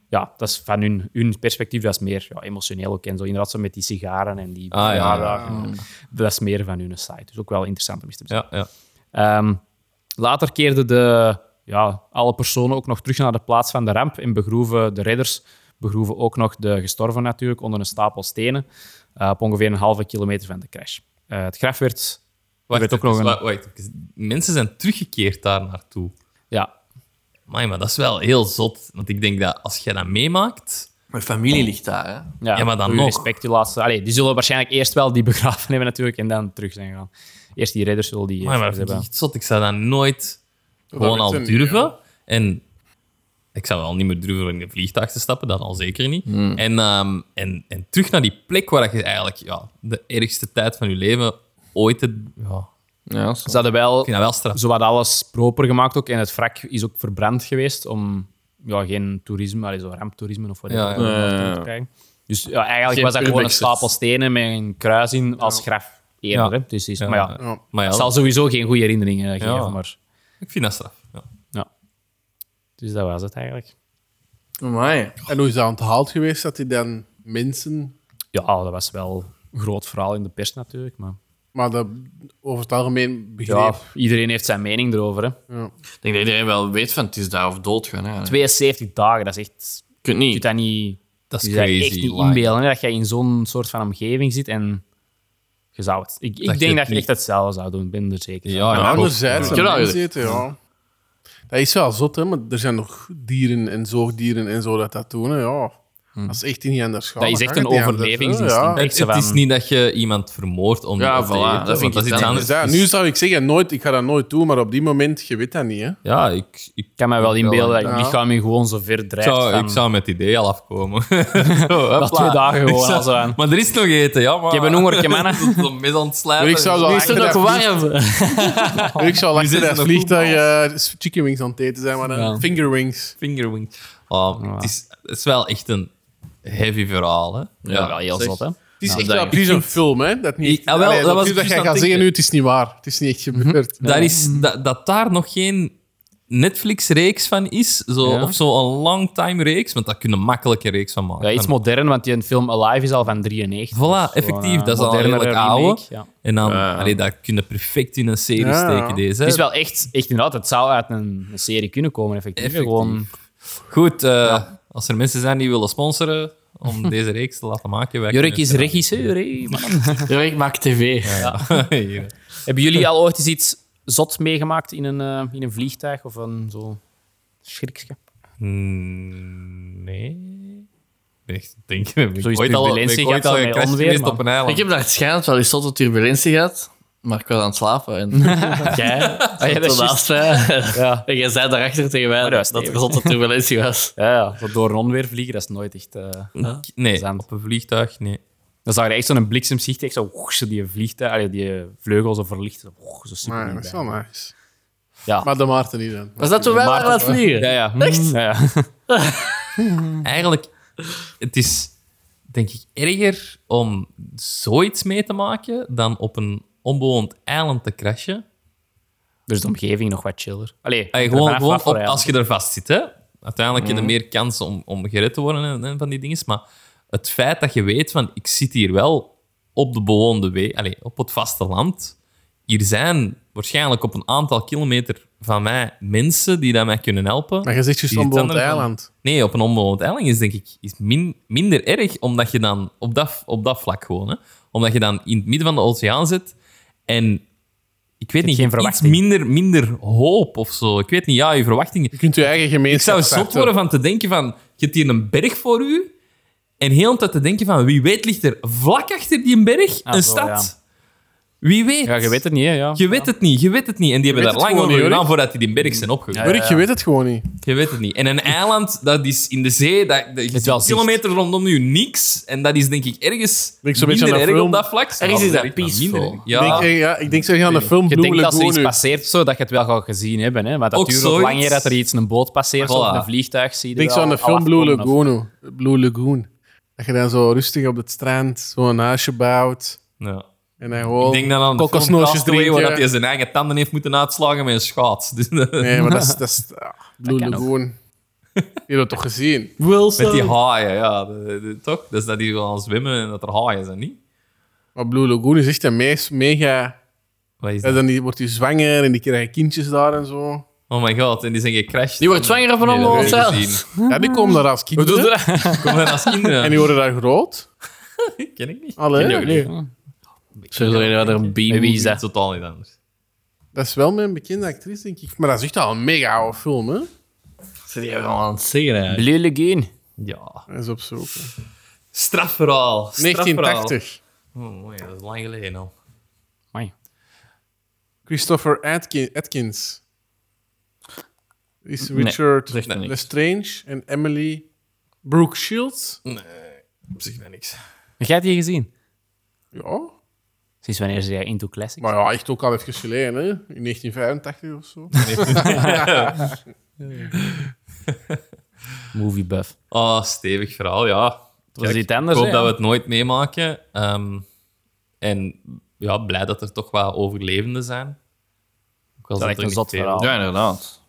Speaker 1: ja, dat is van hun, hun perspectief, dat is meer ja, emotioneel ook. En zo inderdaad, zo met die sigaren en die
Speaker 2: Ah, ja, ja,
Speaker 1: verjaardagen. Dat is meer van hun site. Dus ook wel interessant om eens te
Speaker 2: Ja, ja.
Speaker 1: Ehm, later keerden de, ja, alle personen ook nog terug naar de plaats van de ramp en begroeven de redders, begroeven ook nog de gestorven natuurlijk, onder een stapel stenen eh, op ongeveer een halve kilometer van de crash. Eh, het graf werd...
Speaker 2: Wacht,
Speaker 1: werd ook nog
Speaker 2: even,
Speaker 1: een-
Speaker 2: wa- wacht even. Mensen zijn teruggekeerd daar naartoe.
Speaker 1: Ja,
Speaker 2: Amai, maar dat is wel heel zot. Want ik denk dat als jij dat meemaakt...
Speaker 4: Mijn familie ligt daar, hè.
Speaker 1: ja,
Speaker 2: Ja, maar dan
Speaker 1: uw
Speaker 2: nog.
Speaker 1: respect, die laatste... Allee, die zullen waarschijnlijk eerst wel die begraven hebben natuurlijk en dan terug zijn gegaan. Eerst die redders zullen die...
Speaker 2: Amai, maar
Speaker 1: eerst
Speaker 2: dat vind ik
Speaker 1: hebben.
Speaker 2: echt zot. Ik zou dat nooit gewoon
Speaker 3: weet
Speaker 2: al
Speaker 3: je niet,
Speaker 2: durven.
Speaker 3: ja.
Speaker 2: En ik zou al niet meer durven om in een vliegtuig te stappen. Dat al zeker niet.
Speaker 1: Hmm.
Speaker 2: En, ehm, en, en terug naar die plek waar je eigenlijk ja, de ergste tijd van je leven ooit... hebt- Ja,
Speaker 4: Ja,
Speaker 1: Ze hadden wel...
Speaker 2: ik vind dat wel straf.
Speaker 1: Zowat alles proper gemaakt ook. En het wrak is ook verbrand geweest om ja, geen toerisme, maar zo ramptoerisme of whatever,
Speaker 2: Ja, ja.
Speaker 1: om dat
Speaker 4: Ja, ja, ja.
Speaker 1: te krijgen. Dus ja, eigenlijk
Speaker 4: Geen
Speaker 1: was dat gewoon een
Speaker 4: urbexers.
Speaker 1: stapel stenen met een kruis in als graf eerder.
Speaker 2: Ja.
Speaker 1: hè. Dus is,
Speaker 2: Ja,
Speaker 1: maar ja,
Speaker 3: Ja.
Speaker 2: Maar ja,
Speaker 1: het zal sowieso geen goede herinneringen eh, geven.
Speaker 2: Ja.
Speaker 1: Maar,
Speaker 2: ik vind dat straf. Ja.
Speaker 1: ja. Dus dat was het eigenlijk.
Speaker 4: Amai.
Speaker 3: En hoe is dat onthaald geweest dat hij dan mensen.
Speaker 1: Ja, dat was wel een groot verhaal in de pers natuurlijk. Maar
Speaker 3: Maar dat over het algemeen
Speaker 1: ja,
Speaker 3: begreep.
Speaker 1: iedereen heeft zijn mening erover. Hè.
Speaker 4: Ik denk dat iedereen wel weet van het is daar of doodgaan. hè. Je
Speaker 1: 72 dagen, dat is echt... Je
Speaker 4: kunt
Speaker 1: kunt
Speaker 4: niet.
Speaker 1: dat niet...
Speaker 2: Dat is
Speaker 1: Je zou
Speaker 2: crazy.
Speaker 1: je echt niet
Speaker 2: like.
Speaker 1: inbeelden hè, dat je in zo'n soort van omgeving zit en je zou het. Ik, ik denk
Speaker 2: Dat je het
Speaker 1: dat je
Speaker 2: niet-
Speaker 1: echt hetzelfde zou doen, ben er zeker. van.
Speaker 2: Ja,
Speaker 3: Maar
Speaker 2: ja,
Speaker 3: anderzijds,
Speaker 4: Ja.
Speaker 3: dat
Speaker 4: Ja.
Speaker 3: mensen eten, ja. Dat is wel zot, hè? Maar er zijn nog dieren en zoogdieren en zo dat dat doen. Hè? Ja. Dat is echt niet anders gaan.
Speaker 1: Hm. Dat is
Speaker 3: Dan
Speaker 1: echt
Speaker 3: gaat
Speaker 1: een
Speaker 3: het niet anders, hè.
Speaker 1: overlevingsinstinct.
Speaker 3: Ja.
Speaker 1: Echt
Speaker 2: Het,
Speaker 1: zo
Speaker 2: het is
Speaker 1: van-
Speaker 2: niet dat je iemand vermoordt om
Speaker 4: Ja,
Speaker 2: dat te
Speaker 4: voilà,
Speaker 2: eten,
Speaker 4: dat
Speaker 2: want
Speaker 4: vind ik
Speaker 2: dat is iets
Speaker 4: dan-
Speaker 2: anders.
Speaker 3: Dus ja, nu zou ik zeggen, nooit, ik ga dat nooit doen, maar op die moment, je weet dat niet. Hè?
Speaker 2: Ja, ik, ik,
Speaker 1: Ik kan me wel inbeelden dat je
Speaker 3: Ja.
Speaker 1: lichaam je gewoon zo ver drijft.
Speaker 2: zou,
Speaker 1: van-
Speaker 2: ik zou met het idee al afkomen. Zo, hopla.
Speaker 1: twee dagen
Speaker 2: Ik
Speaker 1: gewoon
Speaker 2: zou-
Speaker 1: al zo aan.
Speaker 2: Maar er is nog eten, ja. Maar...
Speaker 1: Ik heb een hongertje, mannen.
Speaker 2: Zo'n mes aan het slijpen.
Speaker 3: Maar ik zou wel
Speaker 4: Is
Speaker 3: achter
Speaker 4: het
Speaker 3: dat,
Speaker 4: ook
Speaker 3: vlieg-
Speaker 4: warm?
Speaker 3: ik zou wel achter
Speaker 2: zitten
Speaker 3: dat
Speaker 2: de
Speaker 3: vliegtuig eh, chicken wings aan het eten zijn, maar dan finger wings.
Speaker 2: Fingerwing. Oh, het, is, het is wel echt een heavy verhaal, hè. Ja,
Speaker 1: Ja, wel heel
Speaker 4: zeg.
Speaker 1: zot, hè?
Speaker 3: Het is echt
Speaker 2: Ja, Nou, dat
Speaker 3: wel
Speaker 2: ik
Speaker 3: precies een film, hè? Dat niet.
Speaker 2: Ik- ah, wel,
Speaker 3: Allee,
Speaker 2: dat was
Speaker 3: is dat
Speaker 2: ik juist
Speaker 3: jij
Speaker 2: aan
Speaker 3: gaat
Speaker 2: het
Speaker 3: zeggen nu,
Speaker 2: denken.
Speaker 3: het is niet waar. Het is niet echt gebeurd.
Speaker 2: Daar is, dat, dat daar nog geen Netflix-reeks van is, zo,
Speaker 1: Ja.
Speaker 2: of zo'n longtime-reeks, want daar kunnen makkelijk een reeks van maken.
Speaker 1: Ja, iets modern, want die film Alive is al van 93. Dus
Speaker 2: Voilà, effectief.
Speaker 1: gewoon, eh,
Speaker 2: dat is al een
Speaker 1: modernere
Speaker 2: redelijk
Speaker 1: remake,
Speaker 2: oude.
Speaker 1: ja.
Speaker 2: En dan,
Speaker 4: Ja.
Speaker 2: allee, dat kun je perfect in een serie
Speaker 3: Ja.
Speaker 2: steken, deze.
Speaker 1: Het is wel echt, echt inderdaad, het zou uit een, een serie kunnen komen, effectief.
Speaker 2: Effectief.
Speaker 1: Gewoon,
Speaker 2: Goed, eh, als er mensen zijn die willen sponsoren, om deze reeks te laten maken. Wij
Speaker 1: Jurk is
Speaker 2: kunnen het
Speaker 1: regisseur, hé, man.
Speaker 4: Ja, ik maak tv.
Speaker 2: eraan. Ja. Hier.
Speaker 1: Hebben jullie al ooit eens iets zot meegemaakt in een, eh, in een vliegtuig of een zo schrikske?
Speaker 2: Mm, Nee. Echt, denk ik. heb ik
Speaker 1: Zoiets
Speaker 2: ooit al, ben
Speaker 1: turbulentie
Speaker 2: ik
Speaker 1: gehad
Speaker 2: ooit al
Speaker 1: van
Speaker 2: gecrashed
Speaker 1: onweer,
Speaker 2: geweest
Speaker 1: man.
Speaker 2: op een eiland.
Speaker 4: Ik heb daar waarschijnlijk wel eens zotte turbulentie gehad, maar ik was aan het slapen. En jij? Ah,
Speaker 1: ja, dat is
Speaker 4: naast mij. En jij zei daarachter tegen mij
Speaker 1: Maar dat was
Speaker 4: dat, dat er
Speaker 1: stevig.
Speaker 4: zotte turbulentie was.
Speaker 1: Ja, ja. zo door een onweer vliegen, dat is nooit echt... eh,
Speaker 2: Nee,
Speaker 1: Zand.
Speaker 2: op een vliegtuig, nee.
Speaker 1: Dan zag je echt zo'n bliksemzicht, echt zo, woeg, zo die, vliegtuig, allee, die vleugels zo verlicht. Zo, woeg, zo super
Speaker 3: Maar dat is wel nice.
Speaker 1: Ja.
Speaker 3: Maar de Maarten niet dan.
Speaker 4: Was dat toen wij waren aan het vliegen?
Speaker 1: Ja, ja. Echt? Ja, ja.
Speaker 2: Eigenlijk, het is denk ik erger om zoiets mee te maken dan op een onbewoond eiland te crashen.
Speaker 1: Dus de omgeving nog wat chiller. Allee,
Speaker 2: Allee,
Speaker 1: er
Speaker 2: Ah, gewoon
Speaker 1: vanaf
Speaker 2: gewoon
Speaker 1: wat voor Mhm.
Speaker 2: op-
Speaker 1: eiland.
Speaker 2: als je er vast zit. Hè? Uiteindelijk heb je meer kans om, om gered te worden en, en van die dingen. Maar het feit dat je weet van ik zit hier wel op de bewoonde weg, allee, op het vasteland. Hier zijn waarschijnlijk op een aantal kilometer van mij mensen die dat mij kunnen helpen.
Speaker 3: Maar je zegt juist
Speaker 2: Die
Speaker 3: onbewoond
Speaker 2: tanden van-
Speaker 3: eiland.
Speaker 2: Nee, op een onbewoond eiland is denk ik is min, minder erg, omdat je dan op dat, op dat vlak gewoon, hè, omdat je dan in het midden van de oceaan zit en ik weet niet,
Speaker 1: geen
Speaker 2: je hebt iets
Speaker 1: verwachting.
Speaker 2: minder, minder hoop of zo. Ik weet niet, ja, je verwachtingen.
Speaker 3: Je kunt je eigen gemeenschap...
Speaker 2: Ik zou zot worden van te denken van, je hebt hier een berg voor u en heel de tijd te denken van, wie weet ligt er vlak achter die berg
Speaker 1: Ah,
Speaker 2: een
Speaker 1: zo,
Speaker 2: stad. Wie weet.
Speaker 1: Ja, je weet het niet, hè, ja.
Speaker 2: Je weet het niet, je weet het niet. En die hebben
Speaker 3: weet
Speaker 2: daar
Speaker 3: het
Speaker 2: lang
Speaker 3: gewoon
Speaker 2: over
Speaker 3: niet,
Speaker 2: gedaan
Speaker 3: hoor.
Speaker 2: voordat die die berg zijn opgegroeid.
Speaker 3: Burk, je weet het gewoon niet.
Speaker 2: Je weet het niet. En een eiland, dat is in de zee, dat, dat je
Speaker 1: is wel
Speaker 2: ziet kilometer rondom je niks. En dat is denk ik ergens
Speaker 3: Denk zo'n beetje
Speaker 2: minder
Speaker 3: aan een
Speaker 2: erg
Speaker 3: film.
Speaker 2: op dat vlak.
Speaker 4: Ergens is
Speaker 2: Ja, maar
Speaker 4: dat
Speaker 2: minder
Speaker 4: peaceful.
Speaker 2: erg.
Speaker 3: Ik,
Speaker 2: Ja,
Speaker 3: denk, eh, ja, ik denk, zeg je aan de film
Speaker 1: Je denkt
Speaker 3: Bloemelijk
Speaker 1: als er iets
Speaker 3: Wonen.
Speaker 1: passeert, zo, dat je het wel gaat gezien hebben. Hè? Maar dat
Speaker 2: Ook
Speaker 1: duurt ook
Speaker 2: zoiets.
Speaker 1: langer dat er iets, een boot passeert
Speaker 2: Voilà.
Speaker 1: of een vliegtuig. Zie je
Speaker 3: Ik denk zo
Speaker 1: wel
Speaker 3: aan de
Speaker 1: al
Speaker 3: film Blue
Speaker 1: afkomen of-
Speaker 3: Lagoon. Blue Lagoon. Dat je dan zo rustig op het strand zo'n huisje bouwt.
Speaker 2: ja.
Speaker 3: En dan
Speaker 2: Ik
Speaker 3: gewoon
Speaker 2: denk dan aan de film
Speaker 3: kokosnootjes
Speaker 2: Castaway, waar dat
Speaker 3: Oh, drinken.
Speaker 2: hij zijn eigen tanden heeft moeten uitslagen met een schaats. Dus,
Speaker 3: Nee, maar dat is... Dat is ah, Blue
Speaker 1: kan ook.
Speaker 3: Lagoon. Je hebt het toch gezien?
Speaker 2: met die haaien, ja. de- de- de- toch? Dus dat die gaan zwemmen en dat er haaien zijn, niet?
Speaker 3: Maar Blue Lagoon is echt een meest mega...
Speaker 2: Wat is
Speaker 3: Ja,
Speaker 2: dat?
Speaker 3: dan die, wordt hij zwanger en die krijgen kindjes daar en zo.
Speaker 2: Oh my god, en die zijn gecrashed.
Speaker 4: Die wordt zwanger
Speaker 2: Nee,
Speaker 4: van
Speaker 2: dat
Speaker 4: allemaal
Speaker 2: heb ik
Speaker 4: zelf.
Speaker 2: gezien.
Speaker 3: Ja, die komen daar als
Speaker 1: Hoe doet
Speaker 3: kinderen.
Speaker 1: dat?
Speaker 2: Komen dat als kinderen?
Speaker 3: En die worden daar groot.
Speaker 2: Ken ik niet.
Speaker 3: Allee.
Speaker 4: Sowieso een of andere
Speaker 2: En
Speaker 4: beam.
Speaker 2: wie is dat? Totaal niet anders.
Speaker 3: Dat is wel met een bekende actrice, denk ik. Maar dat is echt al een mega oude film, hè?
Speaker 4: Ze die hebben allemaal aan het zeggen, hè.
Speaker 1: Blue Lagoon.
Speaker 2: Ja.
Speaker 3: Dat is op zoek.
Speaker 2: Strafverhaal. strafverhaal.
Speaker 3: 1980.
Speaker 2: Oh, mooi, dat is lang geleden al.
Speaker 1: Amai.
Speaker 3: Christopher Atkin- Atkins. Is
Speaker 1: Nee,
Speaker 3: Richard
Speaker 4: zegt me niks.
Speaker 3: Lestrange en Emily Brooke Shields.
Speaker 2: Op zich ben niks.
Speaker 1: Jij hebt die gezien?
Speaker 3: Ja,
Speaker 1: Sinds wanneer ze jij Into Classics?
Speaker 3: maar ja, echt ook al even geleden, hè? In 1985 of zo.
Speaker 1: Movie buff.
Speaker 2: Ah, stevig verhaal, ja.
Speaker 1: was
Speaker 2: Kijk,
Speaker 1: iets anders,
Speaker 2: Ik hoop
Speaker 1: hè,
Speaker 2: dat we
Speaker 1: ja.
Speaker 2: het nooit meemaken. Ehm, en ja, blij dat er toch wel overlevenden zijn. Ook
Speaker 1: Dat
Speaker 2: al
Speaker 1: is
Speaker 2: zijn
Speaker 1: echt een
Speaker 2: er
Speaker 1: zot
Speaker 2: niet veel.
Speaker 1: verhaal.
Speaker 4: Ja, inderdaad.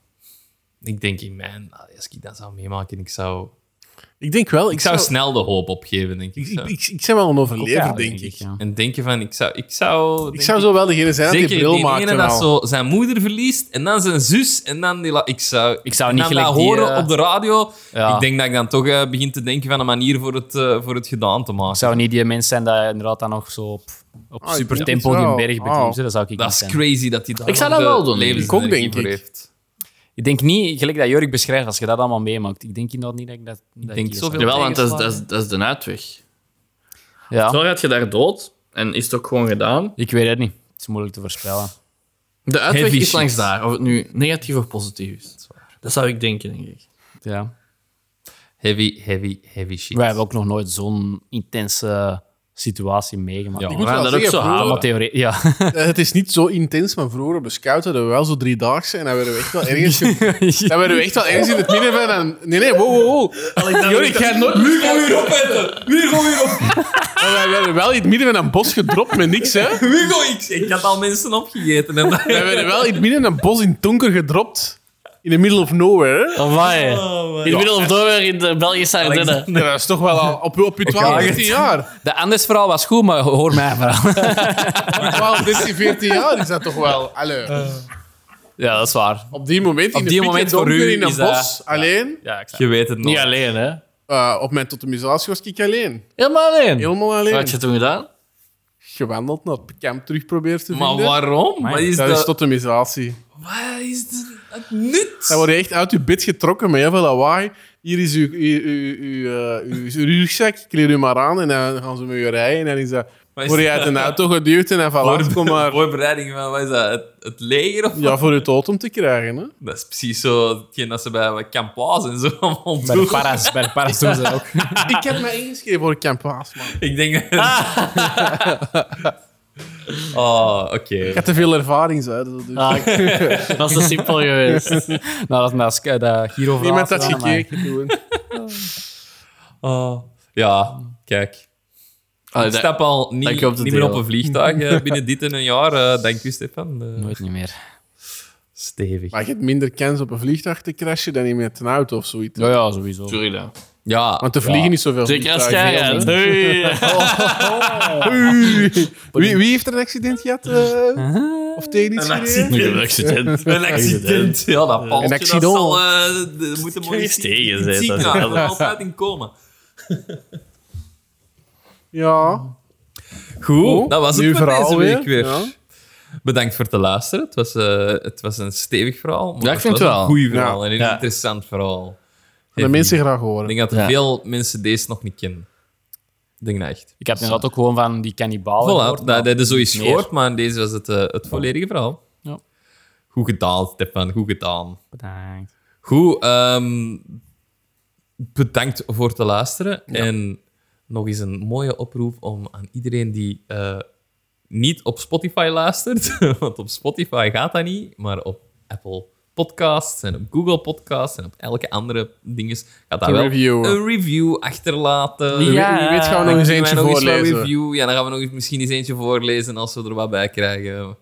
Speaker 2: Ik denk in mijn, ah, als ik dat zou meemaken, ik zou,
Speaker 3: Ik denk wel, ik,
Speaker 2: ik zou snel de hoop opgeven, denk ik.
Speaker 3: Ik,
Speaker 2: zo.
Speaker 3: ik, ik, ben wel een overlever,
Speaker 1: Ja,
Speaker 3: denk ik.
Speaker 1: ja.
Speaker 2: En denken van, ik zou... Ik zou,
Speaker 3: Ik
Speaker 2: denk
Speaker 3: zou zo wel degene zijn
Speaker 2: Zeker
Speaker 3: dat die bril
Speaker 2: die
Speaker 3: maakt.
Speaker 2: ene
Speaker 3: en
Speaker 2: dat
Speaker 3: al.
Speaker 2: zo zijn moeder verliest en dan zijn zus en dan die... la- ik zou,
Speaker 1: Ik zou
Speaker 2: en
Speaker 1: niet
Speaker 2: dan dat
Speaker 1: gelijk die,
Speaker 2: horen
Speaker 1: eh,
Speaker 2: op de radio.
Speaker 1: Ja.
Speaker 2: Ik denk dat ik dan toch eh, begin te denken van een manier voor het, eh, voor het gedaan te maken.
Speaker 1: Zou niet die mensen zijn dat inderdaad dan nog zo op, op
Speaker 3: Ah, ik
Speaker 1: super
Speaker 3: denk
Speaker 1: tempo
Speaker 3: het wel.
Speaker 1: die berg beklimmen?
Speaker 3: Ah.
Speaker 1: Dat zou ik niet
Speaker 2: Dat is
Speaker 1: zijn.
Speaker 2: crazy dat hij daar
Speaker 4: Ik zou
Speaker 2: nog
Speaker 4: dat
Speaker 2: de
Speaker 4: wel doen.
Speaker 2: levensenergie
Speaker 3: Ik ook, denk
Speaker 2: voor
Speaker 3: ik.
Speaker 2: heeft.
Speaker 1: Ik denk niet, gelijk dat Jorik beschrijft, als je dat allemaal meemaakt. Ik denk inderdaad niet dat ik dat... dat
Speaker 2: denk
Speaker 1: die
Speaker 2: zoveel-
Speaker 4: Jawel, want dat is, dat, is, dat is de uitweg.
Speaker 1: zou- Ja,
Speaker 4: Zo gaat je daar dood en is het ook gewoon gedaan.
Speaker 1: ik weet het niet. Het is moeilijk te voorspellen.
Speaker 4: De uitweg
Speaker 2: Heavy
Speaker 4: is
Speaker 2: shit.
Speaker 4: langs daar, of het nu negatief of positief is. Dat zou ik denken, denk ik.
Speaker 1: Ja.
Speaker 2: Heavy, heavy, heavy shit.
Speaker 1: Wij hebben ook nog nooit zo'n intense situatie meegemaakt.
Speaker 2: Ja.
Speaker 1: Ik
Speaker 3: Ik
Speaker 1: moet
Speaker 3: moet
Speaker 4: gaan
Speaker 3: wel
Speaker 4: dat ook
Speaker 3: zeggen,
Speaker 4: zo
Speaker 3: vroeger-
Speaker 1: allemaal theorie. Ja.
Speaker 3: Eh, Het is niet zo intens, maar vroeger op de scout hadden we wel zo driedaagse en dan werden we echt wel ergens, ge- dan werden we echt wel ergens in het midden van... een- nee, nee, wow, wow, wow. Jorik, ik ga nooit...
Speaker 2: Nu gaan we weer opeten! Nu gaan we weer op.
Speaker 3: Maar wij werden wel in het midden van een bos gedropt met niks, hè.
Speaker 2: Nu ga ik... Ik had al mensen opgegeten. En
Speaker 3: Wij werden wel in het midden van een bos in het donker gedropt. In the middle of nowhere. hè.
Speaker 4: In de middel of nowhere in de Belgische Ardennen.
Speaker 3: Ja, dat is toch wel al op, op je 12, 13 jaar.
Speaker 1: De Anders verhaal was goed, maar hoor mijn verhaal.
Speaker 3: Op je 12, 13, 14 jaar is dat toch wel... Allee,
Speaker 1: Ja, dat is waar.
Speaker 3: op die moment, in
Speaker 1: die
Speaker 3: de
Speaker 1: moment
Speaker 3: moment
Speaker 1: voor
Speaker 3: donker
Speaker 1: u
Speaker 3: in een
Speaker 1: is dat-
Speaker 3: bos, alleen...
Speaker 1: Ja, ik snap.
Speaker 2: Je weet het nog.
Speaker 4: Niet alleen, hè.
Speaker 3: eh, op mijn totemisatie was ik alleen.
Speaker 4: Helemaal alleen.
Speaker 3: Helemaal
Speaker 4: Wat had
Speaker 3: alleen.
Speaker 4: je toen gedaan?
Speaker 3: Gewandeld naar het kamp terug proberen te
Speaker 2: Maar
Speaker 3: vinden.
Speaker 2: waarom?
Speaker 1: Amai,
Speaker 2: Wat is
Speaker 3: dat
Speaker 2: dat?
Speaker 3: is totemisatie.
Speaker 2: Wat is de- het nut?
Speaker 3: Dan word je echt uit je bed getrokken met heel veel lawaai. Hier is uw, uw, uw, uw, eh, uw- uw rugzak, kleed u maar aan. En dan gaan ze met je rijden. En dan is dat,
Speaker 2: Maar is
Speaker 3: word je uit een auto geduwd en dan van kom maar.
Speaker 2: Voorbereiding van, wat is dat? Het, het leger? Of
Speaker 3: Ja, voor je totem te krijgen. Hè?
Speaker 2: Dat is precies zo hetgeen dat ze bij Campoise en zo allemaal
Speaker 1: Bij de
Speaker 2: doen.
Speaker 1: paras, bij de paras doen ze dat ook.
Speaker 3: Ik heb mij ingeschreven voor een campaas, man.
Speaker 2: Ik denk dat... oh, oké.
Speaker 3: Ik heb te veel ervaring, zo. hè, Dus.
Speaker 4: Ah, dat is te simpel geweest.
Speaker 1: Nou, dat is mijn sk- dat Giro eh,
Speaker 3: Niemand had gekeken toen.
Speaker 2: Oh, ja, kijk.
Speaker 4: Allee,
Speaker 2: ik
Speaker 4: dat-
Speaker 2: stap al niet,
Speaker 4: dank je op te
Speaker 2: niet meer op
Speaker 4: delen.
Speaker 2: een vliegtuig eh, binnen dit en een jaar. eh, dank u, Stefan. Eh,
Speaker 1: Nooit niet meer.
Speaker 2: Stevig.
Speaker 3: Maar je hebt minder kans op een vliegtuig te crashen dan in met een auto of zoiets.
Speaker 1: Ja, ja, sowieso.
Speaker 4: Sorry dan.
Speaker 2: Ja,
Speaker 3: Want er vliegen niet zoveel
Speaker 4: Zeker als jij
Speaker 3: vliegtuigen,
Speaker 4: rijdt.
Speaker 3: hè. Oei. Wie, wie heeft er een accident gehad? eh, of technisch gereden?
Speaker 4: Een accident.
Speaker 2: een accident. Ja, dat paaltje.
Speaker 3: Een accident.
Speaker 2: Dat zal, eh, de- moeten we
Speaker 4: eens tegen
Speaker 2: in het
Speaker 4: zijn, dat is
Speaker 2: ziekenhuis,
Speaker 4: wel-
Speaker 2: dat is altijd in komen.
Speaker 3: Ja.
Speaker 2: Goed,
Speaker 3: Oh,
Speaker 2: dat was het
Speaker 3: nieuw
Speaker 2: voor deze
Speaker 3: verhaal
Speaker 2: week
Speaker 3: weer.
Speaker 2: weer.
Speaker 3: Ja.
Speaker 2: Bedankt voor het luisteren. Het was, eh, het was een stevig verhaal. Maar
Speaker 4: Ja, ik vind
Speaker 2: was
Speaker 4: het wel.
Speaker 2: Een goed verhaal en een
Speaker 4: Ja.
Speaker 2: interessant verhaal.
Speaker 3: Dat
Speaker 2: Heavy.
Speaker 3: mensen graag
Speaker 2: Ik
Speaker 3: horen.
Speaker 2: denk dat er
Speaker 4: Ja.
Speaker 2: veel mensen deze nog niet kennen. Ik denk dat echt.
Speaker 1: Ik heb inderdaad ook gewoon van die kannibalen
Speaker 2: Voilà,
Speaker 1: gehoord, maar-
Speaker 2: dat is zoiets
Speaker 1: meer.
Speaker 2: gehoord, maar deze was het, eh, het volledige verhaal.
Speaker 1: Ja.
Speaker 2: Goed gedaan, Stefan. Goed gedaan.
Speaker 1: Bedankt.
Speaker 2: Goed, ehm, bedankt voor het luisteren. En nog eens een mooie oproep om aan iedereen die eh, niet op Spotify luistert, want op Spotify gaat dat niet, maar op Apple Podcasts en op Google Podcasts en op elke andere dingen gaat dat
Speaker 3: Te
Speaker 2: wel
Speaker 3: reviewen.
Speaker 2: een review achterlaten.
Speaker 3: Wie-
Speaker 4: Ja.
Speaker 3: Wie weet gaan we
Speaker 2: Dan
Speaker 3: nog eens
Speaker 2: kunnen wij
Speaker 3: eentje
Speaker 2: nog eens wat
Speaker 3: voorlezen.
Speaker 2: review. Ja, dan gaan we nog eens, misschien eens eentje voorlezen als we er wat bij krijgen.
Speaker 3: Want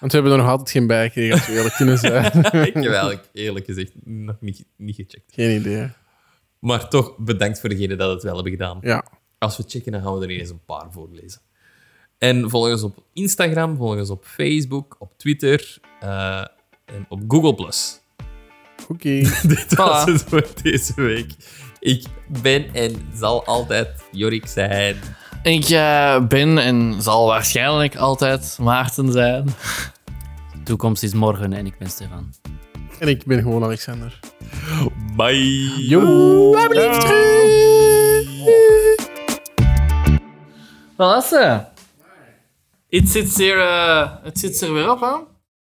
Speaker 3: we hebben er nog altijd geen bij gekregen, als we eerlijk kunnen zijn.
Speaker 2: Ik heb eigenlijk eerlijk gezegd nog niet, niet gecheckt.
Speaker 3: Geen idee.
Speaker 2: Maar toch bedankt voor degenen dat het wel hebben gedaan.
Speaker 3: Ja.
Speaker 2: Als we checken, dan gaan we er eens een paar voorlezen. En volg ons op Instagram, volg ons op Facebook, op Twitter eh, en op Google+.
Speaker 3: Oké.
Speaker 2: Dit was het voor deze week. Ik ben en zal altijd Jorik zijn.
Speaker 4: Ik eh, ben en zal waarschijnlijk altijd Maarten zijn.
Speaker 1: Toekomst is morgen en ik ben Stefan.
Speaker 3: En ik ben gewoon Alexander.
Speaker 2: Bye!
Speaker 3: Yo.
Speaker 4: Wat was het? Het zit, hier, eh, het zit er weer op, hè?